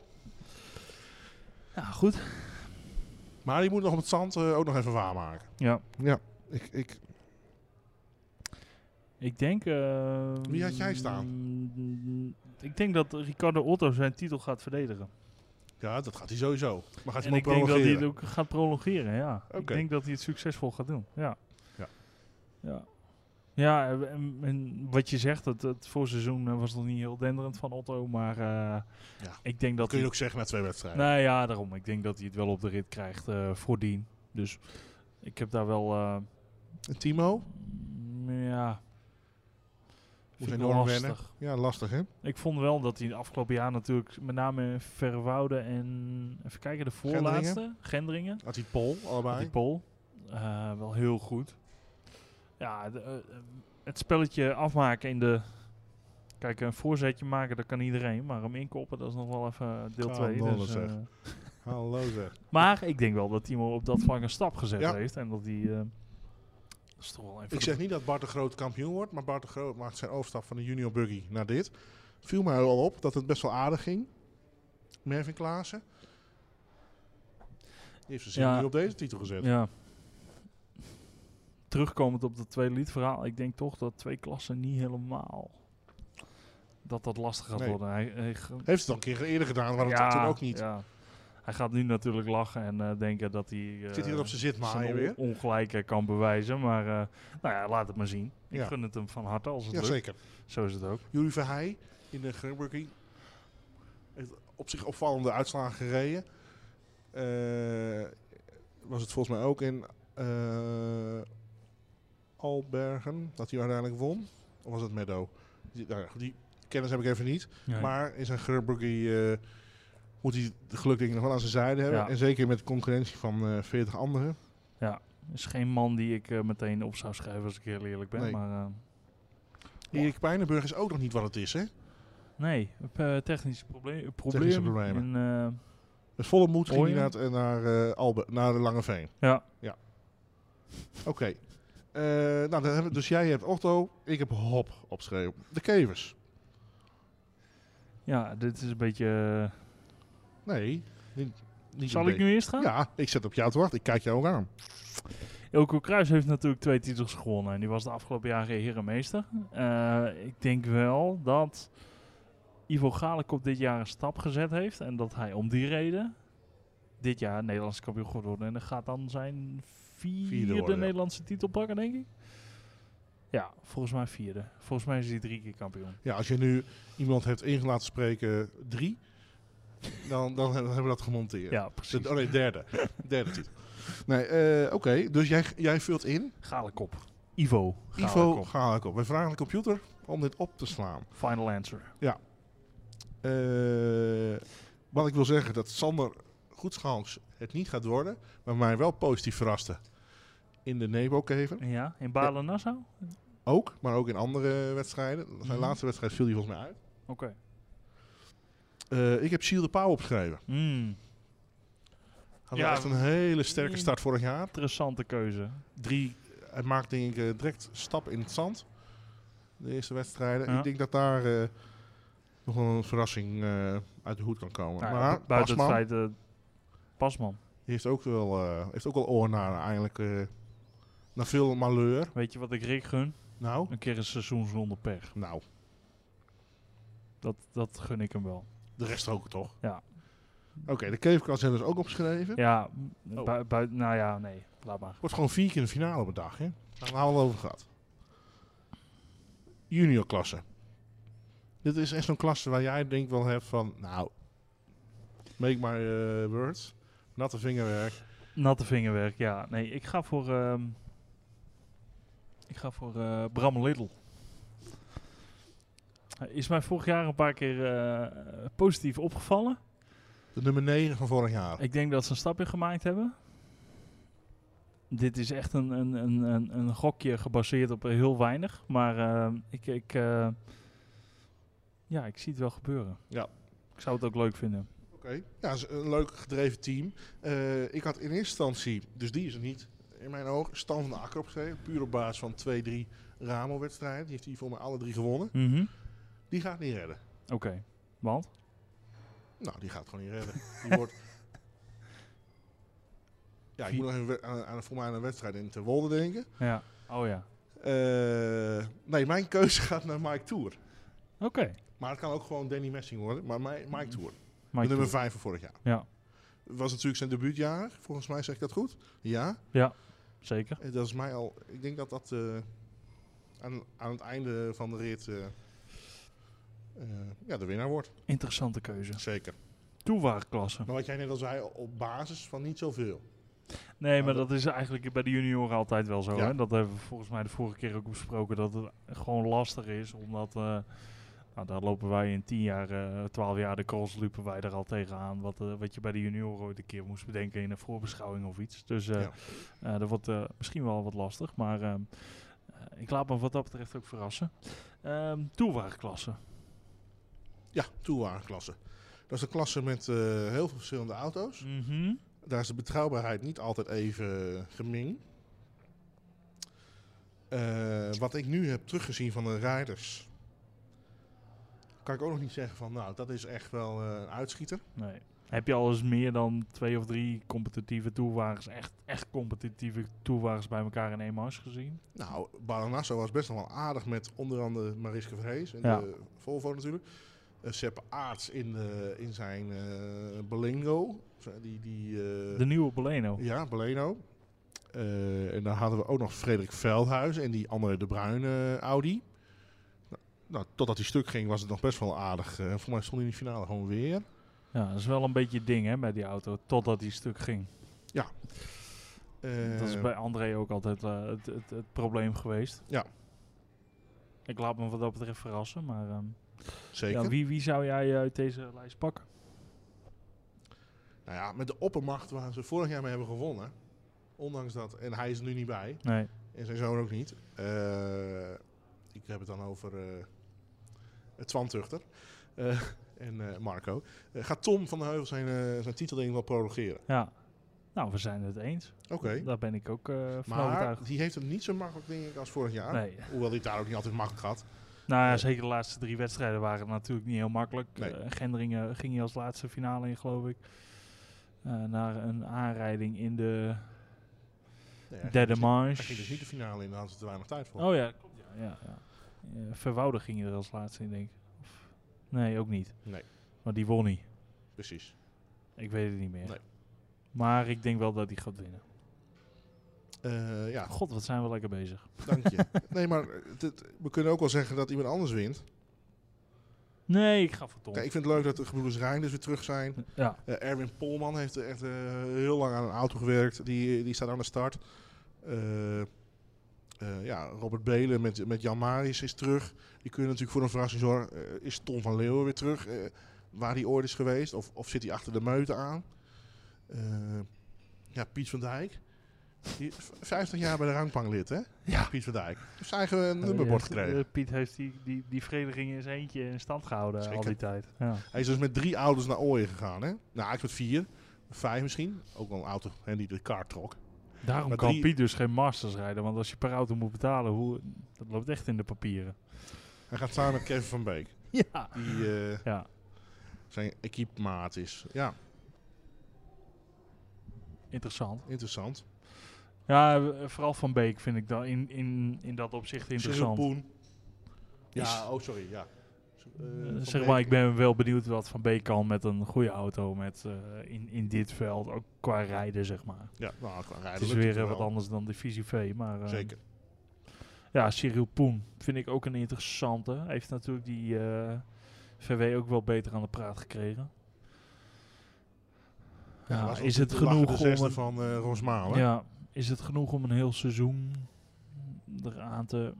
C: Ja, goed.
B: Maar die moet nog op het zand eh, ook nog even waarmaken.
C: Ja.
B: Ik, ik,
C: Ik denk... eh,
B: Wie had jij staan?
C: mm, Ik denk dat Ricardo Otto zijn titel gaat verdedigen.
B: ja, dat gaat hij sowieso. Maar gaat hij hem
C: En ik
B: ook
C: denk dat hij het
B: prolongeren?
C: ook gaat prolongeren, ja. Ik
B: Oké.
C: denk dat hij het succesvol gaat doen, ja.
B: Ja.
C: Ja, ja en, en wat je zegt, het, het voorseizoen eh, was nog niet heel denderend van Otto, maar eh, ik denk dat
B: Dat kun je
C: hij...
B: ook zeggen na twee wedstrijden.
C: Nou ja, daarom. Ik denk dat hij het wel op de rit krijgt eh voordien. Dus ik heb daar wel... eh,
B: En Timo?
C: mm, ja... Vind ik wel
B: enorm
C: lastig.
B: wennen. Ja, lastig hè?
C: Ik vond wel dat hij de afgelopen jaar natuurlijk met name Verwoude en even kijken, de
B: Gendringen.
C: voorlaatste, Gendringen.
B: Had hij Pol allebei.
C: Die Pol. Eh, wel heel goed. Ja, de, eh, eh, het spelletje afmaken in de... Kijk, een voorzetje maken, dat kan iedereen. Maar hem inkoppen, dat is nog wel even deel
B: Kan
C: 2.
B: wel,
C: Dus,
B: zeg.
C: eh,
B: Hallo zeg.
C: maar ik denk wel dat Timo op dat vlak een stap gezet
B: Ja.
C: heeft. En dat hij... eh, dat is toch wel even...
B: Ik zeg niet dat Bart de Groot kampioen wordt, maar Bart de Groot maakt zijn overstap van de junior buggy naar dit. Viel mij al op dat het best wel aardig ging. Mervin Klaassen. Die heeft zijn zin
C: Ja.
B: nu op deze titel gezet.
C: Ja. Terugkomend op dat twee lied verhaal. Ik denk toch dat twee klassen niet helemaal... Dat dat lastig gaat
B: Nee.
C: worden. Hij, hij ge-
B: Heeft het al een keer eerder gedaan, maar dat had toen ook niet.
C: ja. Hij gaat nu natuurlijk lachen en eh, denken dat hij... eh,
B: Zit hier op zijn zit, maar
C: zijn on-
B: weer.
C: ongelijkheid kan bewijzen. Maar eh, nou ja, laat het maar zien. Ik
B: Ja.
C: gun het hem van harte als het lukt.
B: Jazeker.
C: Zo is het ook.
B: Jullie Verheij in de Grand Buggy. Heeft op zich opvallende uitslagen gereden. Eh, was het volgens mij ook in eh, Albergen dat hij uiteindelijk won? Of was het Meadow? Die, nou ja, goed, die kennis heb ik even niet. Maar in zijn Grand Prix, eh, moet hij de gelukdingen nog wel aan zijn zijde hebben.
C: Ja.
B: En zeker met de concurrentie van eh 40 anderen.
C: is geen man die ik eh, meteen op zou schrijven als ik heel eerlijk ben.
B: Nee.
C: Maar eh,
B: Erik Pijnenburg is ook nog niet wat het is. Hè?
C: nee, eh, technische probleem. probleem
B: Technische problemen.
C: in, eh,
B: Met volle moed ging hij
C: Ooyen.
B: naar, het- eh, naar, eh, Albe, naar de Langeveen.
C: ja,
B: Oké. Eh, nou, dan hebben we- dus jij hebt Otto, ik heb Hop opgeschreven. De kevers.
C: ja, dit is een beetje... eh,
B: Nee. Niet, niet
C: zal
B: een
C: ik
B: beetje.
C: nu eerst gaan?
B: Ja, ik zet op jou te wachten. Ik kijk jou ook aan.
C: Ilko Kruis heeft natuurlijk twee titels gewonnen. En die was de afgelopen jaren herenmeester. Eh, ik denk wel dat Ivo Galikop dit jaar een stap gezet heeft. En dat hij om die reden dit jaar Nederlandse kampioen gaat worden. En dat gaat dan zijn vierde,
B: Vierde worden, ja.
C: Nederlandse titel pakken, denk ik. Ja, volgens mij vierde. Volgens mij is hij drie keer kampioen.
B: Ja, als je nu iemand hebt ingelaten spreken drie, dan, dan, hebben we dat gemonteerd.
C: Ja, precies.
B: De- oh nee, derde. derde titel. Nee, eh, oké. Dus jij, jij vult in.
C: Galikop. Ivo.
B: Ivo
C: Galikop.
B: Galikop. We vragen de computer om dit op te slaan.
C: Final answer.
B: Eh, wat ik wil zeggen, dat Sander Goedschans het niet gaat worden, maar mij wel positief verraste. In de Nebo-kever
C: Ja, in Balen-Nassau? Oké.
B: ook, maar ook in andere wedstrijden. Zijn
C: Mhm.
B: laatste wedstrijd viel hij volgens mij uit. Eh, ik heb Gilles de Pauw opgeschreven.
C: Hmm,
B: Had
C: Ja.
B: wel echt een hele sterke
C: Mm.
B: start vorig jaar.
C: interessante keuze.
B: Drie, hij maakt denk ik eh, direct stap in het zand. De eerste wedstrijden.
C: Ja.
B: Ik denk dat daar eh, nog wel een verrassing eh, uit de hoed kan komen.
C: Nou ja,
B: maar
C: bu- buiten
B: Pasman,
C: het feit... eh Pasman.
B: die heeft ook wel, eh heeft ook wel oor naar eigenlijk eh, naar veel malheur.
C: Weet je wat ik Rick gun?
B: Nou,
C: Een keer een seizoen zonder pech.
B: nou,
C: Dat, dat gun ik hem wel.
B: de rest ook toch?
C: Ja.
B: Oké, de Keverkans hebben ze ook opgeschreven.
C: Ja,
B: Oh.
C: bui- buiten... Nou ja, nee. Laat maar.
B: Wordt gewoon vier keer de finale op een dag, hè? Daar hebben we het al over gehad. Junior klasse. Dit is echt zo'n klasse waar jij denk wel hebt van, nou, make my eh, words. Natte vingerwerk.
C: Natte vingerwerk, ja. Nee, ik ga voor... ehm, ik ga voor eh, Bram Lidl. Hij Is mij vorig jaar een paar keer eh, positief opgevallen.
B: De nummer 9 van vorig jaar.
C: Ik denk dat ze een stapje gemaakt hebben. Dit is echt een, een, een, een, een gokje gebaseerd op heel weinig. Maar ehm, ik, ik, eh, ja, ik zie het wel gebeuren.
B: Ja.
C: Ik zou het ook leuk vinden.
B: Oké. Ja, is een leuk gedreven team. Eh, ik had in eerste instantie, dus die is er niet, in mijn oog, Stan van de Akker opgeschreven. Puur op basis van 2-3 Ramo-wedstrijden. Die heeft hij voor mij alle drie gewonnen.
C: Mhm.
B: Die gaat niet redden.
C: Oké, want?
B: Nou, die gaat het gewoon niet redden. Die wordt... Ja, ik
C: Vier-
B: moet nog even we- aan, aan, voor mij aan een wedstrijd in Terwolde denken.
C: Ja. Oh ja.
B: Eh, nee, mijn keuze gaat naar Mike Tour.
C: Oké.
B: Maar het kan ook gewoon Danny Messing worden. Maar Mi- Mike Tour, de
C: Mike
B: nummer
C: Toer.
B: 5 van vorig jaar.
C: Ja,
B: Was natuurlijk zijn debuutjaar, volgens mij zeg ik dat goed. Ja,
C: zeker.
B: eh, dat is mij al... Ik denk dat dat eh, aan, aan het einde van de rit eh, eh, ja, de winnaar wordt.
C: Interessante keuze.
B: Zeker.
C: Toewaarklasse.
B: Maar wat jij net al zei, op basis van niet zoveel.
C: Nee, maar
B: dat-
C: dat is eigenlijk bij de junioren altijd wel zo.
B: Ja.
C: Hè? Dat hebben we volgens mij de vorige keer ook besproken. Dat het gewoon lastig is, omdat... eh, nou, daar lopen wij in 10 jaar, eh 12 jaar de calls liepen wij er al tegenaan. Wat, eh, wat je bij de junioren ooit een keer moest bedenken in een voorbeschouwing of iets. Dus eh,
B: Ja.
C: eh, dat wordt eh, misschien wel wat lastig. Maar ehm, eh, ik laat me wat dat betreft ook verrassen. Ehm toewaarklasse.
B: Ja, toewagenklasse. Dat is een klasse met eh, heel veel verschillende auto's.
C: Mhm.
B: Daar is de betrouwbaarheid niet altijd even geming. Eh, wat ik nu heb teruggezien van de rijders, kan ik ook nog niet zeggen van, nou, dat is echt wel eh, een uitschieter.
C: Nee. Heb je al eens meer dan twee of drie competitieve toewagens, echt, echt competitieve toewagens bij elkaar in één mars gezien?
B: Nou, Baranasso was best nog wel aardig met onder andere Mariska Vrees en
C: Ja.
B: de Volvo natuurlijk. Eh Sepp Aarts in, de, in zijn eh Belingo. Die, die, eh,
C: De nieuwe Boleno.
B: Ja, Beleno. Eh, en dan hadden we ook nog Frederik Veldhuis en die andere De Bruin eh, Audi. Nou, nou, totdat hij stuk ging was het nog best wel aardig. Eh, voor mij stond hij in de finale gewoon weer.
C: Ja, dat is wel een beetje het ding hè, met die auto, totdat die stuk ging.
B: Eh,
C: dat is bij André ook altijd eh, het, het, het probleem geweest.
B: Ja.
C: Ik laat me wat dat betreft verrassen, maar ehm,
B: Zeker.
C: ja, wie, wie zou jij uit deze lijst pakken?
B: Nou ja, met de oppermacht waar ze vorig jaar mee hebben gewonnen. Ondanks dat, en hij is er nu niet bij.
C: Nee.
B: En zijn zoon ook niet. Eh, ik heb het dan over eh het Twantuchter. Eh, en eh, Marco. Eh, gaat Tom van de Heuvel zijn, eh, zijn titelding wel prologeren?
C: Ja. Nou, we zijn het eens.
B: Oké.
C: Daar ben ik ook eh van
B: Maar
C: overtuigd.
B: die heeft het niet zo makkelijk, denk ik, als vorig jaar.
C: Nee.
B: Hoewel die het daar ook niet altijd makkelijk had.
C: Nou ja,
B: Nee.
C: zeker de laatste drie wedstrijden waren natuurlijk niet heel makkelijk.
B: Nee.
C: Eh, Gendringen ging je als laatste finale in, geloof ik. Eh, naar een aanrijding in de
B: Nee, hij ging
C: derde Oh
B: dus niet- Hij ging dus
C: manche.
B: niet de finale in, daar hadden ze te weinig tijd voor.
C: Oh ja, klopt. Ja, ja, ja. Eh, Verwouder ging je er als laatste in, denk ik. Of Nee, ook niet.
B: Nee.
C: Maar die won niet.
B: Precies.
C: Ik weet het niet meer.
B: Nee.
C: Maar ik denk wel dat die gaat winnen.
B: Eh, ja,
C: God, wat zijn we lekker bezig.
B: dank je. nee, maar het- het- we kunnen ook wel zeggen dat iemand anders
C: Oh.
B: wint.
C: Nee, ik ga voor Tom.
B: Kijk, ik vind het leuk dat de gebroeders Rijn dus weer terug zijn.
C: Ja,
B: Eh, Erwin Polman heeft er echt eh, heel lang aan een auto gewerkt. Die, die staat aan de start. Eh, eh, ja, Robert Belen met, met Jan Marius is terug. Die kunnen natuurlijk voor een verrassing zorgen. Eh, is Tom van Leeuwen weer terug? eh, waar hij ooit is geweest? Of, of zit hij achter de meute aan? Eh, ja, Piet van Dijk. Die, v- 50 jaar bij de rangpang lid, hè?
C: Ja.
B: Piet van Dijk. Dus Heeft zijn eigen
C: Eh,
B: nummerbord
C: heeft-
B: gekregen.
C: eh, Piet heeft die, die, die vereniging in zijn eentje in stand gehouden al
B: Zeker.
C: die tijd. Ja.
B: Hij is dus met drie ouders naar Ooyen gegaan, hè? Nou, ik met vier. Vijf misschien. Ook wel een auto hè, die de kaart trok.
C: Daarom
B: Maar
C: kan
B: drie-
C: Piet dus geen masters rijden, want als je per auto moet betalen, hoe, dat loopt echt in de papieren.
B: Hij gaat samen met Kevin van Beek,
C: Ja.
B: die eh,
C: Ja,
B: zijn equipmaat is. Ja,
C: interessant.
B: interessant.
C: Ja, eh, vooral Van Beek vind ik dan in, in, in dat opzicht
B: Cyril
C: interessant.
B: Poen. Ja, oh sorry, ja. Eh,
C: Eh,
B: Van
C: zeg
B: Beek.
C: maar, ik ben wel benieuwd wat Van Beek kan met een goede auto met, eh, in, in dit veld, ook qua rijden zeg maar.
B: Ja, nou, qua rijden
C: Het is
B: lukt
C: weer eh,
B: wel.
C: wat anders dan Divisie V, maar... eh,
B: Zeker.
C: Ja, Cyril Poen vind ik ook een interessante. Hij heeft natuurlijk die eh, VW ook wel beter aan de praat gekregen. Ja,
B: was ook
C: is het
B: de lachende
C: genoeg om
B: zesde
C: een,
B: van eh Rosmalen.
C: ja, is het genoeg om een heel seizoen eraan te...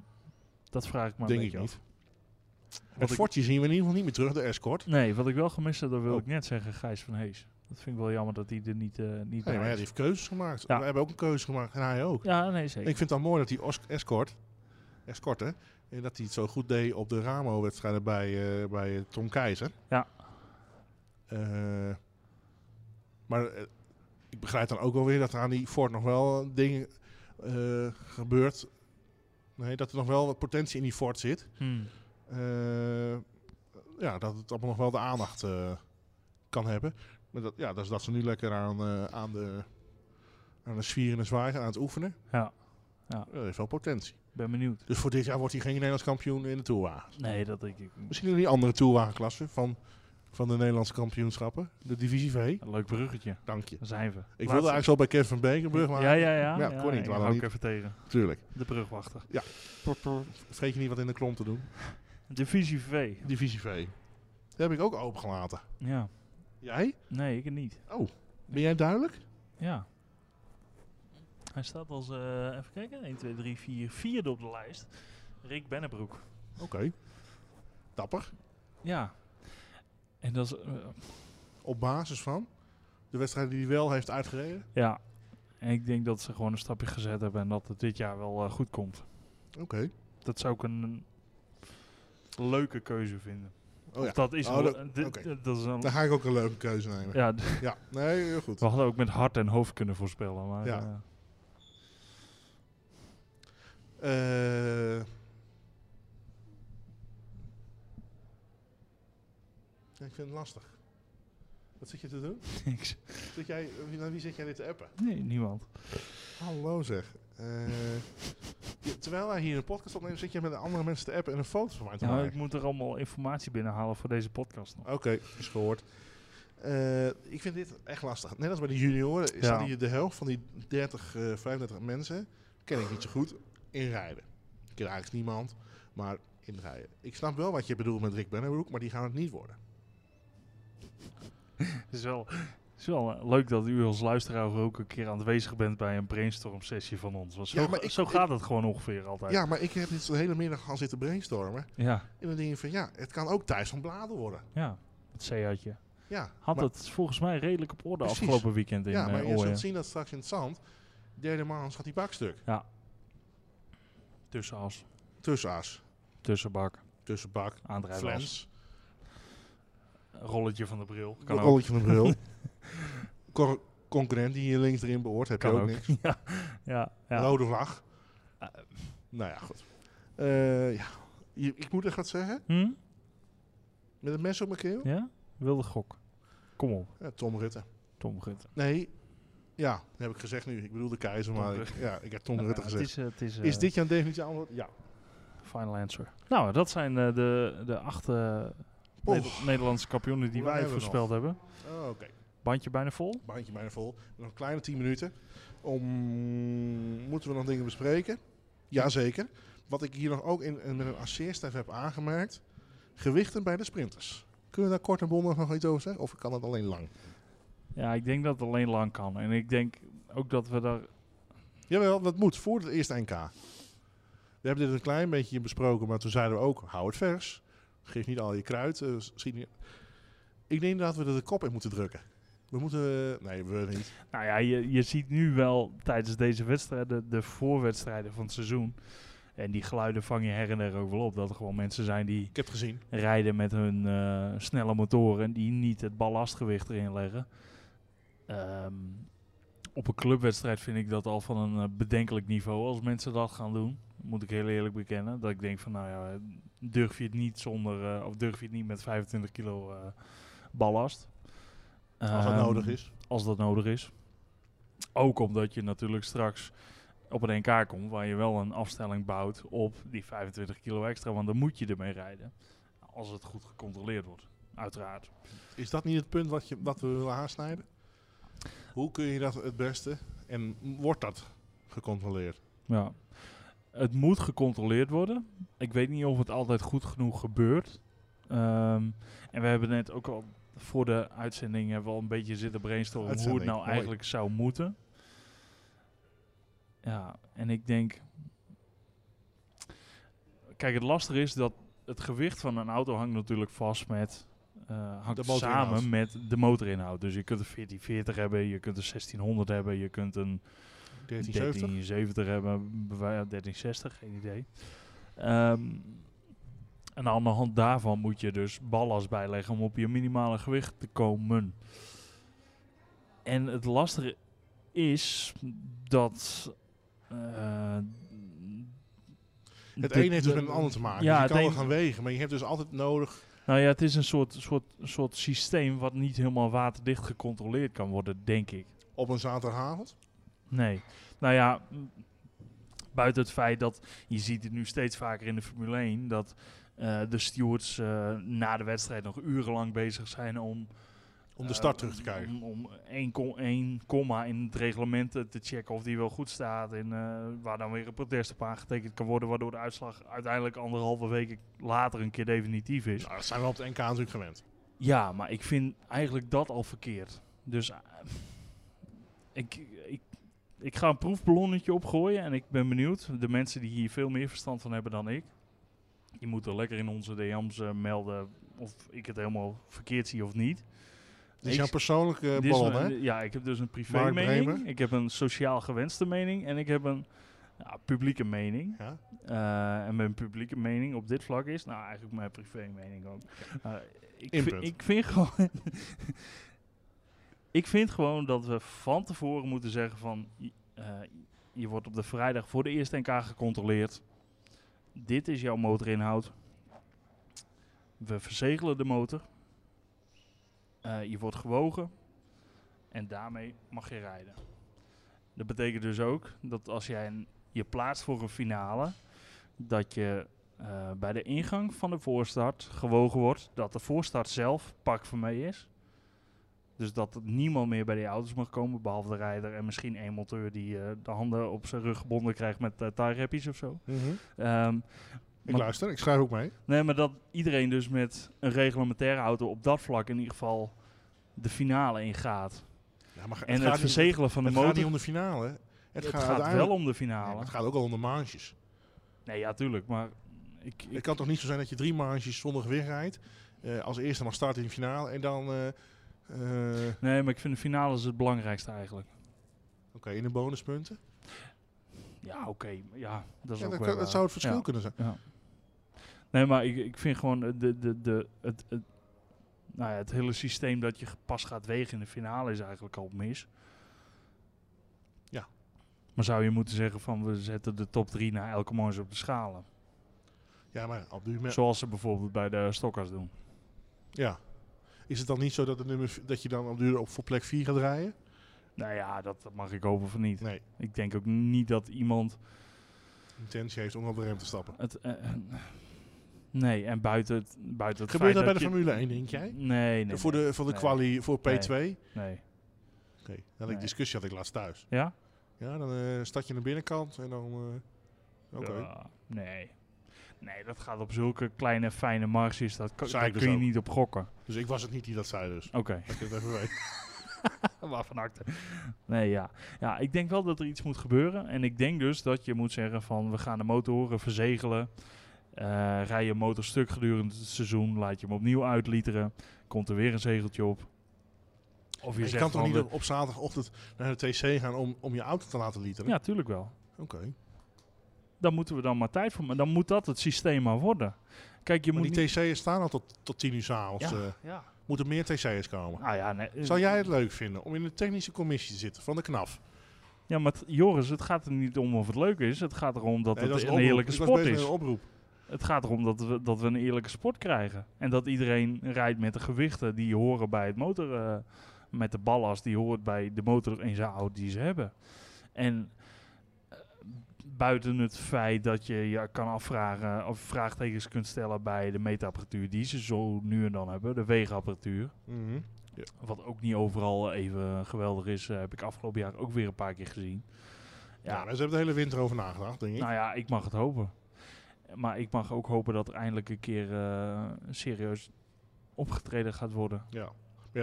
C: Dat vraag ik me
B: Denk
C: een
B: ik
C: beetje
B: niet.
C: af. Wat
B: Het
C: ik-
B: fortje zien we in ieder geval niet meer terug, de escort.
C: Nee, wat ik wel gemist heb, dat wil
B: Oh.
C: ik net zeggen, Gijs van Hees. Dat vind ik wel jammer dat hij er niet, eh niet
B: Nee,
C: bij
B: maar ja,
C: is.
B: die heeft keuzes gemaakt.
C: Ja.
B: We hebben ook een keuze gemaakt en hij ook.
C: Ja, nee, zeker.
B: Ik vind het dan mooi dat die os- escort, escort hè, en dat hij het zo goed deed op de Ramo-wedstrijden bij, eh, bij eh, Tom Keizer.
C: Ja.
B: Eh, maar eh, ik begrijp dan ook wel weer dat er aan die Ford nog wel dingen eh, gebeurt. Nee, dat er nog wel wat potentie in die Ford zit.
C: Hmm.
B: Eh, ja, dat het allemaal nog wel de aandacht eh, kan hebben. Maar dat, ja, dat is dat ze nu lekker aan, eh, aan de... Aan de zwieren en zwaaigen, aan het oefenen.
C: Ja,
B: Ja, Dat heeft wel potentie.
C: ik ben benieuwd.
B: Dus voor dit jaar wordt hij geen Nederlands kampioen in de Tourwagen.
C: Nee, dat denk ik niet.
B: Misschien in die andere Tourwagenklasse van, van de Nederlandse kampioenschappen. De divisie V.
C: Een leuk bruggetje.
B: Dank je.
C: Daar zijn we.
B: Ik
C: Laatste-
B: wilde eigenlijk zo bij Kevin van Bekenbrug, maar
C: Ja, ja, ja.
B: Ja, kon niet,
C: ik
B: maar
C: hou
B: dan
C: ik
B: niet.
C: even tegen.
B: natuurlijk.
C: De brugwachter.
B: Vergeet je niet wat in de klom te doen.
C: Divisie V.
B: Divisie V. Die heb ik ook opengelaten.
C: Ja.
B: Jij?
C: Nee, ik het niet.
B: Ben jij duidelijk?
C: Ja. Hij staat als, eh, even kijken, 1, 2, 3, 4, vierde op de lijst. Rick Bennebroek.
B: Oké. Dapper.
C: Ja. En dat is, eh,
B: Op basis van de wedstrijd die hij wel heeft uitgereden.
C: ja. En ik denk dat ze gewoon een stapje gezet hebben en dat het dit jaar wel eh, goed komt.
B: Oké.
C: Dat zou ik een leuke keuze vinden.
B: Oh ja.
C: Of dat is
B: Oh,
C: een-
B: dat-
C: dit-
B: oké.
C: dat is een...
B: Dan ga ik ook een leuke keuze nemen.
C: Ja,
B: Ja. Nee, heel goed.
C: we hadden ook met hart en hoofd kunnen voorspellen. Maar,
B: Ja.
C: eh,
B: Eh. Ja, ik vind het lastig. Wat zit je te doen?
C: niks.
B: Zit jij, wie- naar wie zit jij dit te appen?
C: Nee, niemand.
B: Hallo zeg. Eh, je- terwijl wij hier een podcast opnemen, zit jij met andere mensen te appen en een foto van mij te
C: Ja, maar ik
B: maken.
C: moet er allemaal informatie binnenhalen voor deze podcast nog.
B: Oké, is gehoord. Eh, ik vind dit echt lastig. Net als bij de junioren is
C: Ja.
B: hier de helft van die 30, eh, 35 mensen, ken ik niet zo goed, in rijden. Ik ken eigenlijk niemand, maar in rijden. Ik snap wel wat je bedoelt met Rick Bennebroek, maar die gaan het niet worden.
C: Het is wel, het is wel eh, leuk dat u als luisteraar ook een keer aanwezig bent bij een brainstorm sessie van ons. Want zo
B: Ja, maar
C: ga-
B: ik-
C: zo
B: ik-
C: gaat het gewoon ongeveer altijd.
B: Ja, maar ik heb dit de hele middag al zitten brainstormen.
C: ja.
B: En dan denk ik van ja, het kan ook Thijs van Bladen worden.
C: ja. Het C-houtje.
B: Ja,
C: Had
B: maar,
C: het volgens mij redelijk op orde
B: Precies.
C: afgelopen weekend in
B: ja, maar
C: eh,
B: je
C: Ooyen.
B: zult zien dat straks in het zand, derde maand gaat die bak stuk.
C: Tussenas,
B: Tussenaas,
C: tussenbak,
B: tussenbak,
C: aandrijfwas,
B: flens,
C: rolletje van de bril. Kan ook.
B: rolletje van de bril. Cor- concurrent die hier links erin behoort, heb
C: Kan
B: je ook,
C: ook.
B: niks.
C: ja, ja, ja.
B: Rode vlag.
C: Eh.
B: nou ja, goed. Eh, ja. Je- ik moet echt wat zeggen,
C: Hm?
B: met het mes op mijn keel.
C: ja? Wilde gok. Kom op,
B: Ja, Tom Rutte.
C: Tom Rutte.
B: Nee, ja, dat heb ik gezegd nu. Ik bedoel de keizer,
C: Tom
B: maar ik,
C: Rutte.
B: ja, ik heb Tom
C: Nou,
B: Rutte
C: ja,
B: gezegd.
C: Het is, eh, het is,
B: Is
C: eh,
B: dit jouw definitieve antwoord? Ja.
C: Final answer. Nou, dat zijn eh, de, de acht eh, Neder- Nederlandse kampioenen die
B: Hoe lang
C: wij
B: hebben we
C: voorspeld hebben.
B: Oh, Oké,
C: Bandje bijna vol.
B: baantje bijna vol. Nog een kleine 10 minuten. Om... Moeten we nog dingen bespreken? Jazeker. Wat ik hier nog ook in, in een assist even heb aangemerkt. Gewichten bij de sprinters. Kunnen we daar kort en bondig nog iets over zeggen? Of kan dat alleen lang?
C: Ja, ik denk dat het alleen lang kan. En ik denk ook dat we daar...
B: Jawel, dat moet voor het eerste NK. We hebben dit een klein beetje besproken, maar toen zeiden we ook: hou het vers. Geef niet al je kruid. eh, s- zie niet- Ik denk dat we er de kop in moeten drukken. We moeten. eh, Nee, we niet.
C: Nou ja, je, je ziet nu wel tijdens deze wedstrijden, de voorwedstrijden van het seizoen... En die geluiden vang je her en der ook wel op. Dat er gewoon mensen zijn die
B: Ik heb het gezien.
C: rijden met hun eh, snelle motoren... die niet het ballastgewicht erin leggen. Ehm, op een clubwedstrijd vind ik dat al van een eh, bedenkelijk niveau... als mensen dat gaan doen. Moet ik heel eerlijk bekennen. Dat ik denk van, nou ja, durf je het niet zonder... eh, of durf je het niet met 25 kilo eh, ballast.
B: Als dat
C: Ehm,
B: nodig is.
C: als dat nodig is. Ook omdat je natuurlijk straks op een NK komt waar je wel een afstelling bouwt op die 25 kilo extra, want dan moet je ermee rijden. Als het goed gecontroleerd wordt, uiteraard.
B: Is dat niet het punt wat, je, wat we willen aansnijden? Hoe kun je dat het beste? En wordt dat gecontroleerd?
C: Ja. Het moet gecontroleerd worden. Ik weet niet of het altijd goed genoeg gebeurt. Ehm, en we hebben net ook al voor de uitzending hebben we al een beetje zitten brainstormen hoe het
B: Uitzending,
C: nou
B: mooi.
C: eigenlijk zou moeten. Ja, en ik denk. Kijk, het lastige is dat het gewicht van een auto hangt natuurlijk vast met. eh, hangt
B: De motorinhoud.
C: samen met de motorinhoud. Dus je kunt een 1440 hebben, je kunt een 1600 hebben, je kunt een
B: 1370?
C: 1370 hebben, bij wij- 1360, geen idee. Ehm, en aan de hand daarvan moet je dus ballast bijleggen om op je minimale gewicht te komen. En het lastige is dat. eh,
B: Het
C: de-
B: een heeft dus
C: de-
B: met het ander te maken.
C: Ja,
B: je
C: het
B: kan wel
C: een-
B: gaan wegen, maar je hebt dus altijd nodig.
C: Nou ja, het is een soort, soort, soort systeem wat niet helemaal waterdicht gecontroleerd kan worden, denk ik.
B: Op een zaterdagavond.
C: Nee. Nou ja, mm, buiten het feit dat je ziet het nu steeds vaker in de Formule 1 dat eh, de stewards eh, na de wedstrijd nog urenlang bezig zijn om.
B: Om de
C: eh,
B: start terug te krijgen.
C: Om, om één, ko- één komma in het reglement te, te checken of die wel goed staat. En eh, waar dan weer een protest op aangetekend kan worden. Waardoor de uitslag uiteindelijk anderhalve week later een keer definitief is.
B: Nou, dat zijn we op het NK natuurlijk gewend.
C: Ja, maar ik vind eigenlijk dat al verkeerd. Dus eh, ik, ik, ik ga een proefballonnetje opgooien en ik ben benieuwd. De mensen die hier veel meer verstand van hebben dan ik, die moeten lekker in onze DM's eh, melden of ik het helemaal verkeerd zie of niet.
B: Dit is
C: Ik-
B: jouw persoonlijke
C: Dit is
B: ballon,
C: mijn-
B: hè?
C: Ja, ik heb dus een privé
B: Mark
C: mening,
B: Bremer.
C: ik heb een sociaal gewenste mening en ik heb een ja, publieke mening.
B: Ja.
C: Eh, en mijn publieke mening op dit vlak is, nou eigenlijk mijn privé mening ook. Eh, ik,
B: Input.
C: vind- ik vind gewoon. ik vind gewoon dat we van tevoren moeten zeggen van. i- eh, je wordt op de vrijdag voor de eerste NK gecontroleerd. Dit is jouw motorinhoud. We verzegelen de motor. Eh, je wordt gewogen. En daarmee mag je rijden. Dat betekent dus ook dat als jij een- je plaatst voor een finale, dat je eh, bij de ingang van de voorstart gewogen wordt dat de voorstart zelf pak van mee is. Dus dat er niemand meer bij die auto's mag komen, behalve de rijder en misschien één monteur die eh, de handen op zijn rug gebonden krijgt met eh tie wrappies of zo.
B: Mhm.
C: Ehm,
B: Ik
C: Maar-
B: luister, ik schrijf ook mee.
C: Nee, maar dat iedereen dus met een reglementaire auto op dat vlak in ieder geval de finale ingaat.
B: Ja, maar
C: en het verzegelen van de
B: het
C: motor.
B: gaat niet om de finale. Het,
C: het
B: gaat,
C: gaat,
B: uiteindelijk-
C: wel om de
B: Nee, maar
C: finale.
B: het gaat ook al om de marges.
C: Nee, ja, tuurlijk. Maar ik, ik,
B: Het kan toch niet zo zijn dat je drie marges zonder gewicht rijdt. eh, als eerste mag starten in de finale. En dan eh, eh, oké,
C: nee, maar ik vind de finale is het belangrijkste eigenlijk.
B: in de bonuspunten.
C: Ja, oké. Ja, dat is
B: Ja, dat,
C: ook wel
B: kan- dat
C: waar.
B: zou het verschil
C: Ja.
B: kunnen zijn.
C: Nee, maar ik, ik vind gewoon eh, de, de, de, het, het, nou ja, het hele systeem dat je ge- pas gaat wegen in de finale is eigenlijk al mis.
B: Ja.
C: Maar zou je moeten zeggen van we zetten de top drie na elke mans op de schalen.
B: Ja, maar op dit moment.
C: Zoals ze bijvoorbeeld bij de stokkers doen.
B: Ja. Is het dan niet zo dat, de nummer, v- dat je dan op duur op voor plek 4 gaat rijden?
C: Nou ja, dat dat mag ik hopen van niet.
B: Nee.
C: Ik denk ook niet dat iemand
B: Intentie heeft om op de rem te stappen.
C: het... eh, eh, Nee, en buiten het, buiten het
B: Gebeurt dat
C: feit
B: bij de
C: je-
B: Formule 1, denk jij?
C: Nee, nee.
B: voor de, voor de
C: nee.
B: quali, voor P2?
C: Nee.
B: Oké,
C: nee.
B: welke
C: Nee.
B: discussie had ik laatst thuis?
C: Ja?
B: Ja, dan eh start je aan de binnenkant en dan... eh, Oké.
C: Ja, nee. Nee, dat gaat op zulke kleine fijne marges. Dat kan,
B: Zei
C: daar
B: ik dus
C: kun je
B: ook.
C: niet op gokken.
B: Dus ik was het niet die dat zei dus.
C: Oké.
B: Dat ik het even weet.
C: Waarvan acte. Nee, ja. Ja, ik denk wel dat er iets moet gebeuren. En ik denk dus dat je moet zeggen van... we gaan de motoren verzegelen. Eh, rij je motor stuk gedurende het seizoen. Laat je hem opnieuw uitlieteren. Komt er weer een zegeltje op. Of je
B: Je
C: zegt
B: kan toch
C: van,
B: niet
C: we-
B: op, op zaterdagochtend naar de TC gaan om, om je auto te laten literen?
C: Ja, tuurlijk wel.
B: Oké.
C: Daar moeten we dan maar tijd voor... maar dan moet dat het systeem maar worden. Kijk, je
B: Maar
C: moet
B: die
C: niet...
B: TC'ers staan al tot, tot tien uur s'avonds.
C: Ja.
B: avonds. eh.
C: Ja.
B: moeten meer TC'ers komen.
C: Nou ja, nee.
B: Zou jij het leuk vinden om in de technische commissie te zitten van de KNAF?
C: Ja, maar het- Joris, het gaat er niet om of het leuk is. Het gaat erom dat
B: Nee,
C: het
B: is
C: een eerlijke
B: oproep. Ik was
C: sport
B: bezig
C: is.
B: met een oproep.
C: Het gaat erom dat we, dat we een eerlijke sport krijgen. En dat iedereen rijdt met de gewichten die horen bij het motor. eh, met de ballast die hoort bij de motor in zijn auto die ze hebben. En eh, buiten het feit dat je je kan afvragen of vraagtekens kunt stellen bij de meetapparatuur die ze zo nu en dan hebben, de weegapparatuur.
B: Mhm.
C: Wat ook niet overal even geweldig is, eh, heb ik afgelopen jaar ook weer een paar keer gezien.
B: Ja, daar ze hebben de hele winter over nagedacht, denk ik.
C: Nou ja, ik mag het hopen. Maar ik mag ook hopen dat er eindelijk een keer eh, serieus opgetreden gaat worden.
B: Ja. Maar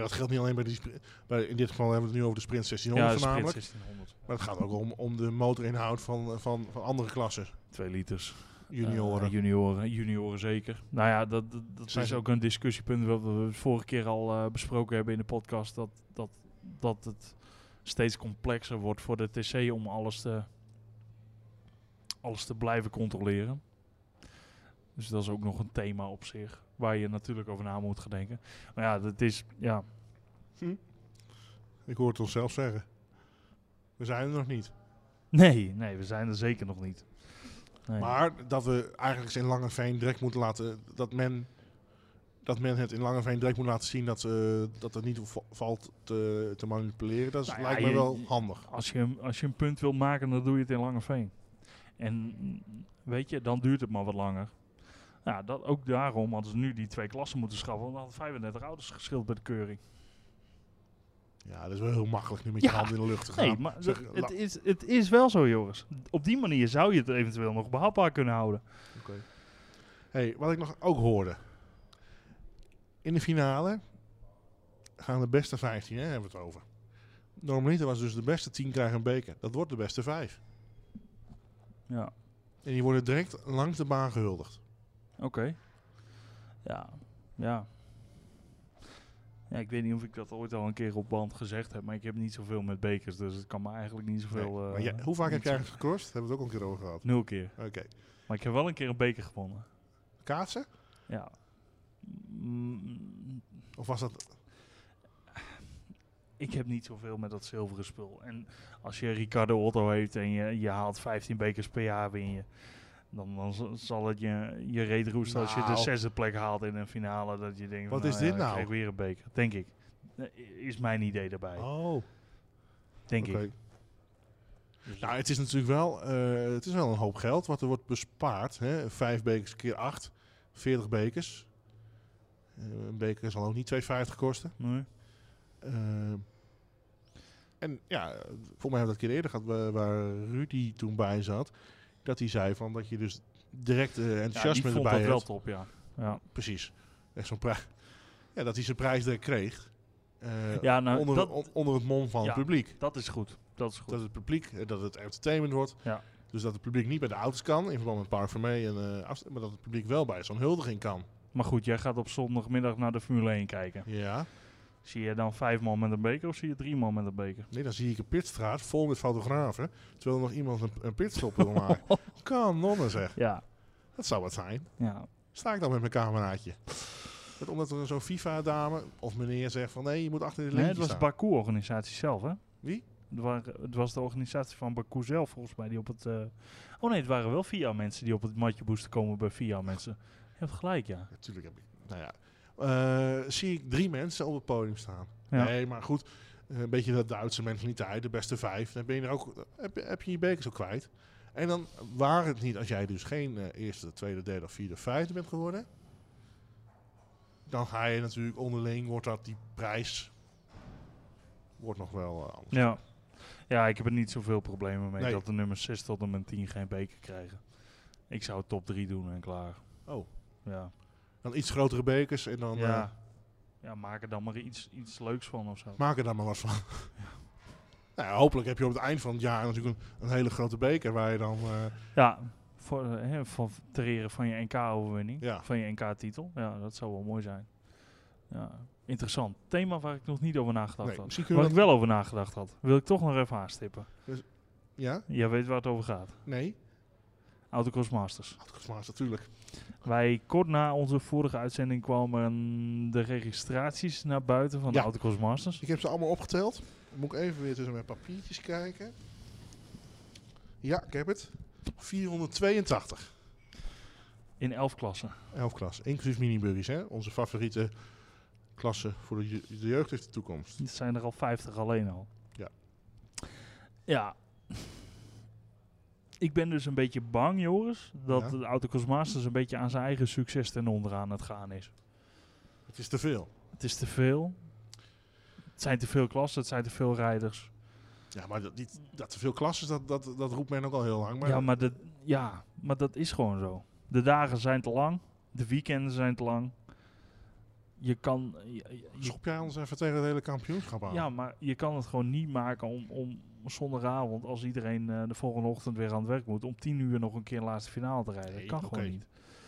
B: ja, dat geldt niet alleen bij die spri- bij, In dit geval hebben we het nu over de sprint 1600
C: Ja, de sprint
B: voornamelijk.
C: 1600.
B: Maar het gaat ook om, om de motorinhoud van, van, van andere klassen.
C: Twee liters.
B: Junioren.
C: Eh, junioren. Junioren zeker. Nou ja, dat, dat, dat
B: Zijn
C: is
B: ze-
C: ook een discussiepunt wat we de vorige keer al eh, besproken hebben in de podcast. Dat, dat, dat het steeds complexer wordt voor de TC om alles te, alles te blijven controleren. Dus dat is ook nog een thema op zich. Waar je natuurlijk over na moet gaan denken. Maar ja, dat is... Ja,
B: Ik hoor het onszelf zeggen. We zijn er nog niet.
C: nee, nee, we zijn er zeker nog niet. Nee.
B: Maar dat we eigenlijk eens in Langeveen direct moeten laten... Dat men, dat men het in Langeveen direct moet laten zien dat, eh, dat het niet va- valt te, te manipuleren. Dat is-
C: Nou ja,
B: lijkt me
C: je-
B: wel handig.
C: Als je, een- als je een punt wilt maken, dan doe je het in Langeveen. En mm, weet je, dan duurt het maar wat langer. Nou, dat, ook daarom hadden ze nu die twee klassen moeten schrappen. Want dan hadden 35 ouders geschild bij de keuring.
B: Ja, dat is wel heel makkelijk nu met je
C: Ja.
B: handen in de lucht te gaan.
C: Nee, maar
B: Zeg,
C: d-
B: la-
C: het is, het is wel zo, Joris. Op die manier zou je het eventueel nog behapbaar kunnen houden.
B: Hey, wat ik nog ook hoorde. In de finale gaan de beste 15, hè, hebben we het over. Normaliter was dus de beste 10 krijgen een beker. Dat wordt de beste 5.
C: Ja,
B: En die worden direct langs de baan gehuldigd.
C: oké. Ja, ja. Ja, ik weet niet of ik dat ooit al een keer op band gezegd heb, maar ik heb niet zoveel met bekers, dus het kan me eigenlijk niet
B: Nee,
C: zoveel...
B: maar
C: eh,
B: jij- hoe vaak heb
C: niet
B: jij
C: zo-
B: het gekost? Hebben we het ook al een keer over gehad.
C: Nul keer.
B: Oké.
C: Maar ik heb wel een keer een beker gewonnen.
B: Kaatsen?
C: Ja. Mm,
B: Of was dat...
C: ik heb niet zoveel met dat zilveren spul. En als je Ricardo Otto heeft en je, je haalt 15 bekers per jaar win je. Dan, dan z- zal het je, je reet roesten als je de
B: Nou.
C: zesde plek haalt in een finale. Dat je denkt,
B: Wat
C: van,
B: is
C: ja,
B: dit
C: ik
B: nou?
C: krijg weer een beker, denk ik. Eh, Is mijn idee daarbij,
B: Oh.
C: denk
B: Oké.
C: ik. Dus-
B: Nou, het is natuurlijk wel, eh, het is wel een hoop geld wat er wordt bespaard. Hè? Vijf bekers keer acht, 40 bekers. Eh, een beker zal ook niet 2,50 kosten.
C: Nee.
B: Eh, en ja, eh, volgens mij hebben we dat een keer eerder gehad, waar, waar Rudy toen bij zat. Dat hij zei van dat je dus direct eh,
C: Ja, die
B: enthousiasme
C: vond dat
B: erbij
C: wel
B: hebt.
C: top, ja. Ja,
B: Precies. Echt zo'n prijs. Ja, dat hij zijn prijs direct kreeg. eh,
C: ja nou,
B: onder,
C: dat,
B: on- onder het mom van
C: Ja.
B: het publiek.
C: dat is goed. Dat is goed.
B: Dat het publiek, eh, dat het entertainment wordt.
C: Ja.
B: Dus dat het publiek niet bij de auto's kan, in verband met Park Vermee, en, eh, afst- maar dat het publiek wel bij zo'n huldiging kan.
C: Maar goed, jij gaat op zondagmiddag naar de Formule 1 kijken.
B: Ja.
C: Zie je dan vijf man met een beker of zie je drie man met een beker?
B: Nee, dan zie ik een pitstraat vol met fotografen, terwijl er nog iemand een, een pitstop wil maken.
C: Oh.
B: Kan nonnen zeg.
C: Ja.
B: Dat zou wat zijn.
C: ja.
B: Sta ik dan met mijn cameraatje? Dat omdat er zo'n FIFA-dame of meneer zegt van nee, je moet achter dit
C: Nee,
B: lintje
C: het was de
B: staan.
C: Baku-organisatie zelf, hè?
B: Wie?
C: Het, waren, het was de organisatie van Baku zelf, volgens mij, die op het... eh, Oh nee, het waren wel VIA-mensen die op het matje moesten komen bij VIA-mensen. Je hebt gelijk, ja.
B: Natuurlijk heb ik. Nou ja. Eh, zie ik drie mensen op het podium staan.
C: Ja.
B: Nee, maar goed. eh, Een beetje dat Duitse mentaliteit, de beste vijf. Dan ben je er ook, heb, heb je je beker zo kwijt. En En dan waar het niet, als jij dus geen eh, eerste, tweede, derde of vierde, vijfde bent geworden, dan ga je natuurlijk onderling, wordt dat die prijs, wordt nog wel eh, anders.
C: Ja. ja, ik heb er niet zoveel problemen mee
B: Nee.
C: dat de nummer 6 tot en met 10 geen beker krijgen. Ik zou top 3 doen en klaar.
B: Oh,
C: Ja,
B: dan iets grotere bekers en dan
C: ja.
B: eh,
C: ja maak er dan maar iets, iets leuks van of zo.
B: maak er dan maar wat van. Nou ja, hopelijk heb je op het eind van het jaar natuurlijk een, een hele grote beker waar je dan... eh,
C: Ja, voor, eh, hè, van ter ere van je NK-overwinning,
B: Ja.
C: van je NK-titel. Ja, dat zou wel mooi zijn. Ja, interessant. Thema waar ik nog niet over nagedacht
B: nee,
C: had.
B: misschien
C: Waar
B: kunnen
C: ik
B: we
C: wel over nagedacht had, wil ik toch nog even aanstippen.
B: dat- Ja?
C: Jij weet waar het over gaat.
B: Nee?
C: Autocross Masters.
B: Autocross natuurlijk.
C: Wij kort na onze vorige uitzending kwamen de registraties naar buiten van de
B: Ja.
C: Autocross Masters.
B: Ik heb ze allemaal opgeteld. Moet ik even weer tussen mijn papiertjes kijken. Ja, ik heb het. 482.
C: In elf klassen.
B: Elf klas, inclusief minibuggies, hè? Onze favoriete klasse voor de, je- de jeugd heeft de toekomst.
C: Het zijn er al 50 alleen al.
B: Ja.
C: Ja. Ik ben dus een beetje bang, Joris, dat
B: Ja.
C: de Autocross Masters een beetje aan zijn eigen succes ten onder aan het gaan is.
B: Het is te veel.
C: Het is te veel. Het zijn te veel klassen, het zijn te veel rijders.
B: Ja, maar dat, niet, dat te veel klassen, dat, dat, dat roept men ook al heel lang. Maar,
C: ja, maar dat, ja, maar dat is gewoon zo. De dagen zijn te lang, de weekenden zijn te lang. Je kan, je- je
B: schop jij ons even tegen het hele kampioenschap aan?
C: Ja, maar je kan het gewoon niet maken om, om zondagavond, als iedereen eh, de volgende ochtend weer aan het werk moet, om tien uur nog een keer een laatste finale te rijden.
B: Nee,
C: dat kan
B: oké.
C: gewoon niet.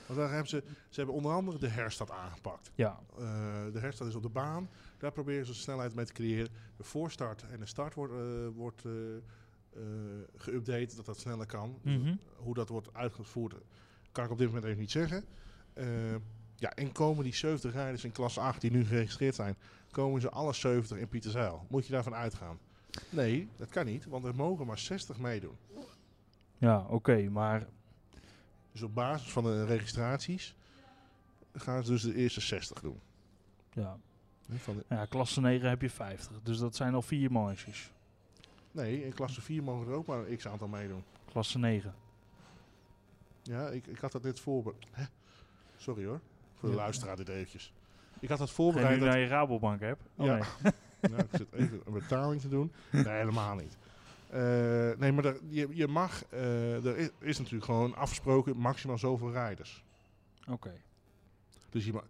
B: Want daar hebben ze, ze hebben onder andere de herstad aangepakt.
C: Ja,
B: Eh, de herstart is op de baan. Daar proberen ze snelheid mee te creëren. De voorstart en de start wordt, eh, wordt eh, eh, geüpdate, dat dat sneller kan. Dus
C: Mhm.
B: Hoe dat wordt uitgevoerd, kan ik op dit moment even niet zeggen. Eh, ja, en komen die 70 rijders in klasse 8 die nu geregistreerd zijn, komen ze alle 70 in Pieterzeil? Moet je daarvan uitgaan? Nee, dat kan niet, want er mogen maar 60 meedoen.
C: ja oké, maar
B: Dus op basis van de registraties gaan ze dus de eerste 60 doen.
C: ja.
B: Hè, Van de-
C: ja, klasse 9 heb je 50, dus dat zijn al vier manches.
B: nee, in klasse 4 mogen er ook maar een x-aantal meedoen.
C: Klasse 9.
B: Ja, ik, ik had dat net voorbereid. Sorry hoor, voor de
C: Ja.
B: luisteraar dit eventjes. Ik had dat
C: Ga je
B: voorbereid.
C: nu
B: Dat,
C: naar je Rabobank hebt? Oh,
B: Ja.
C: nee.
B: Nou, ik zit even een betaling te doen. Nee, helemaal niet. Eh, nee, maar er- je, je mag, eh, er is, is natuurlijk gewoon afgesproken maximaal zoveel rijders.
C: Oké.
B: Dus je ma-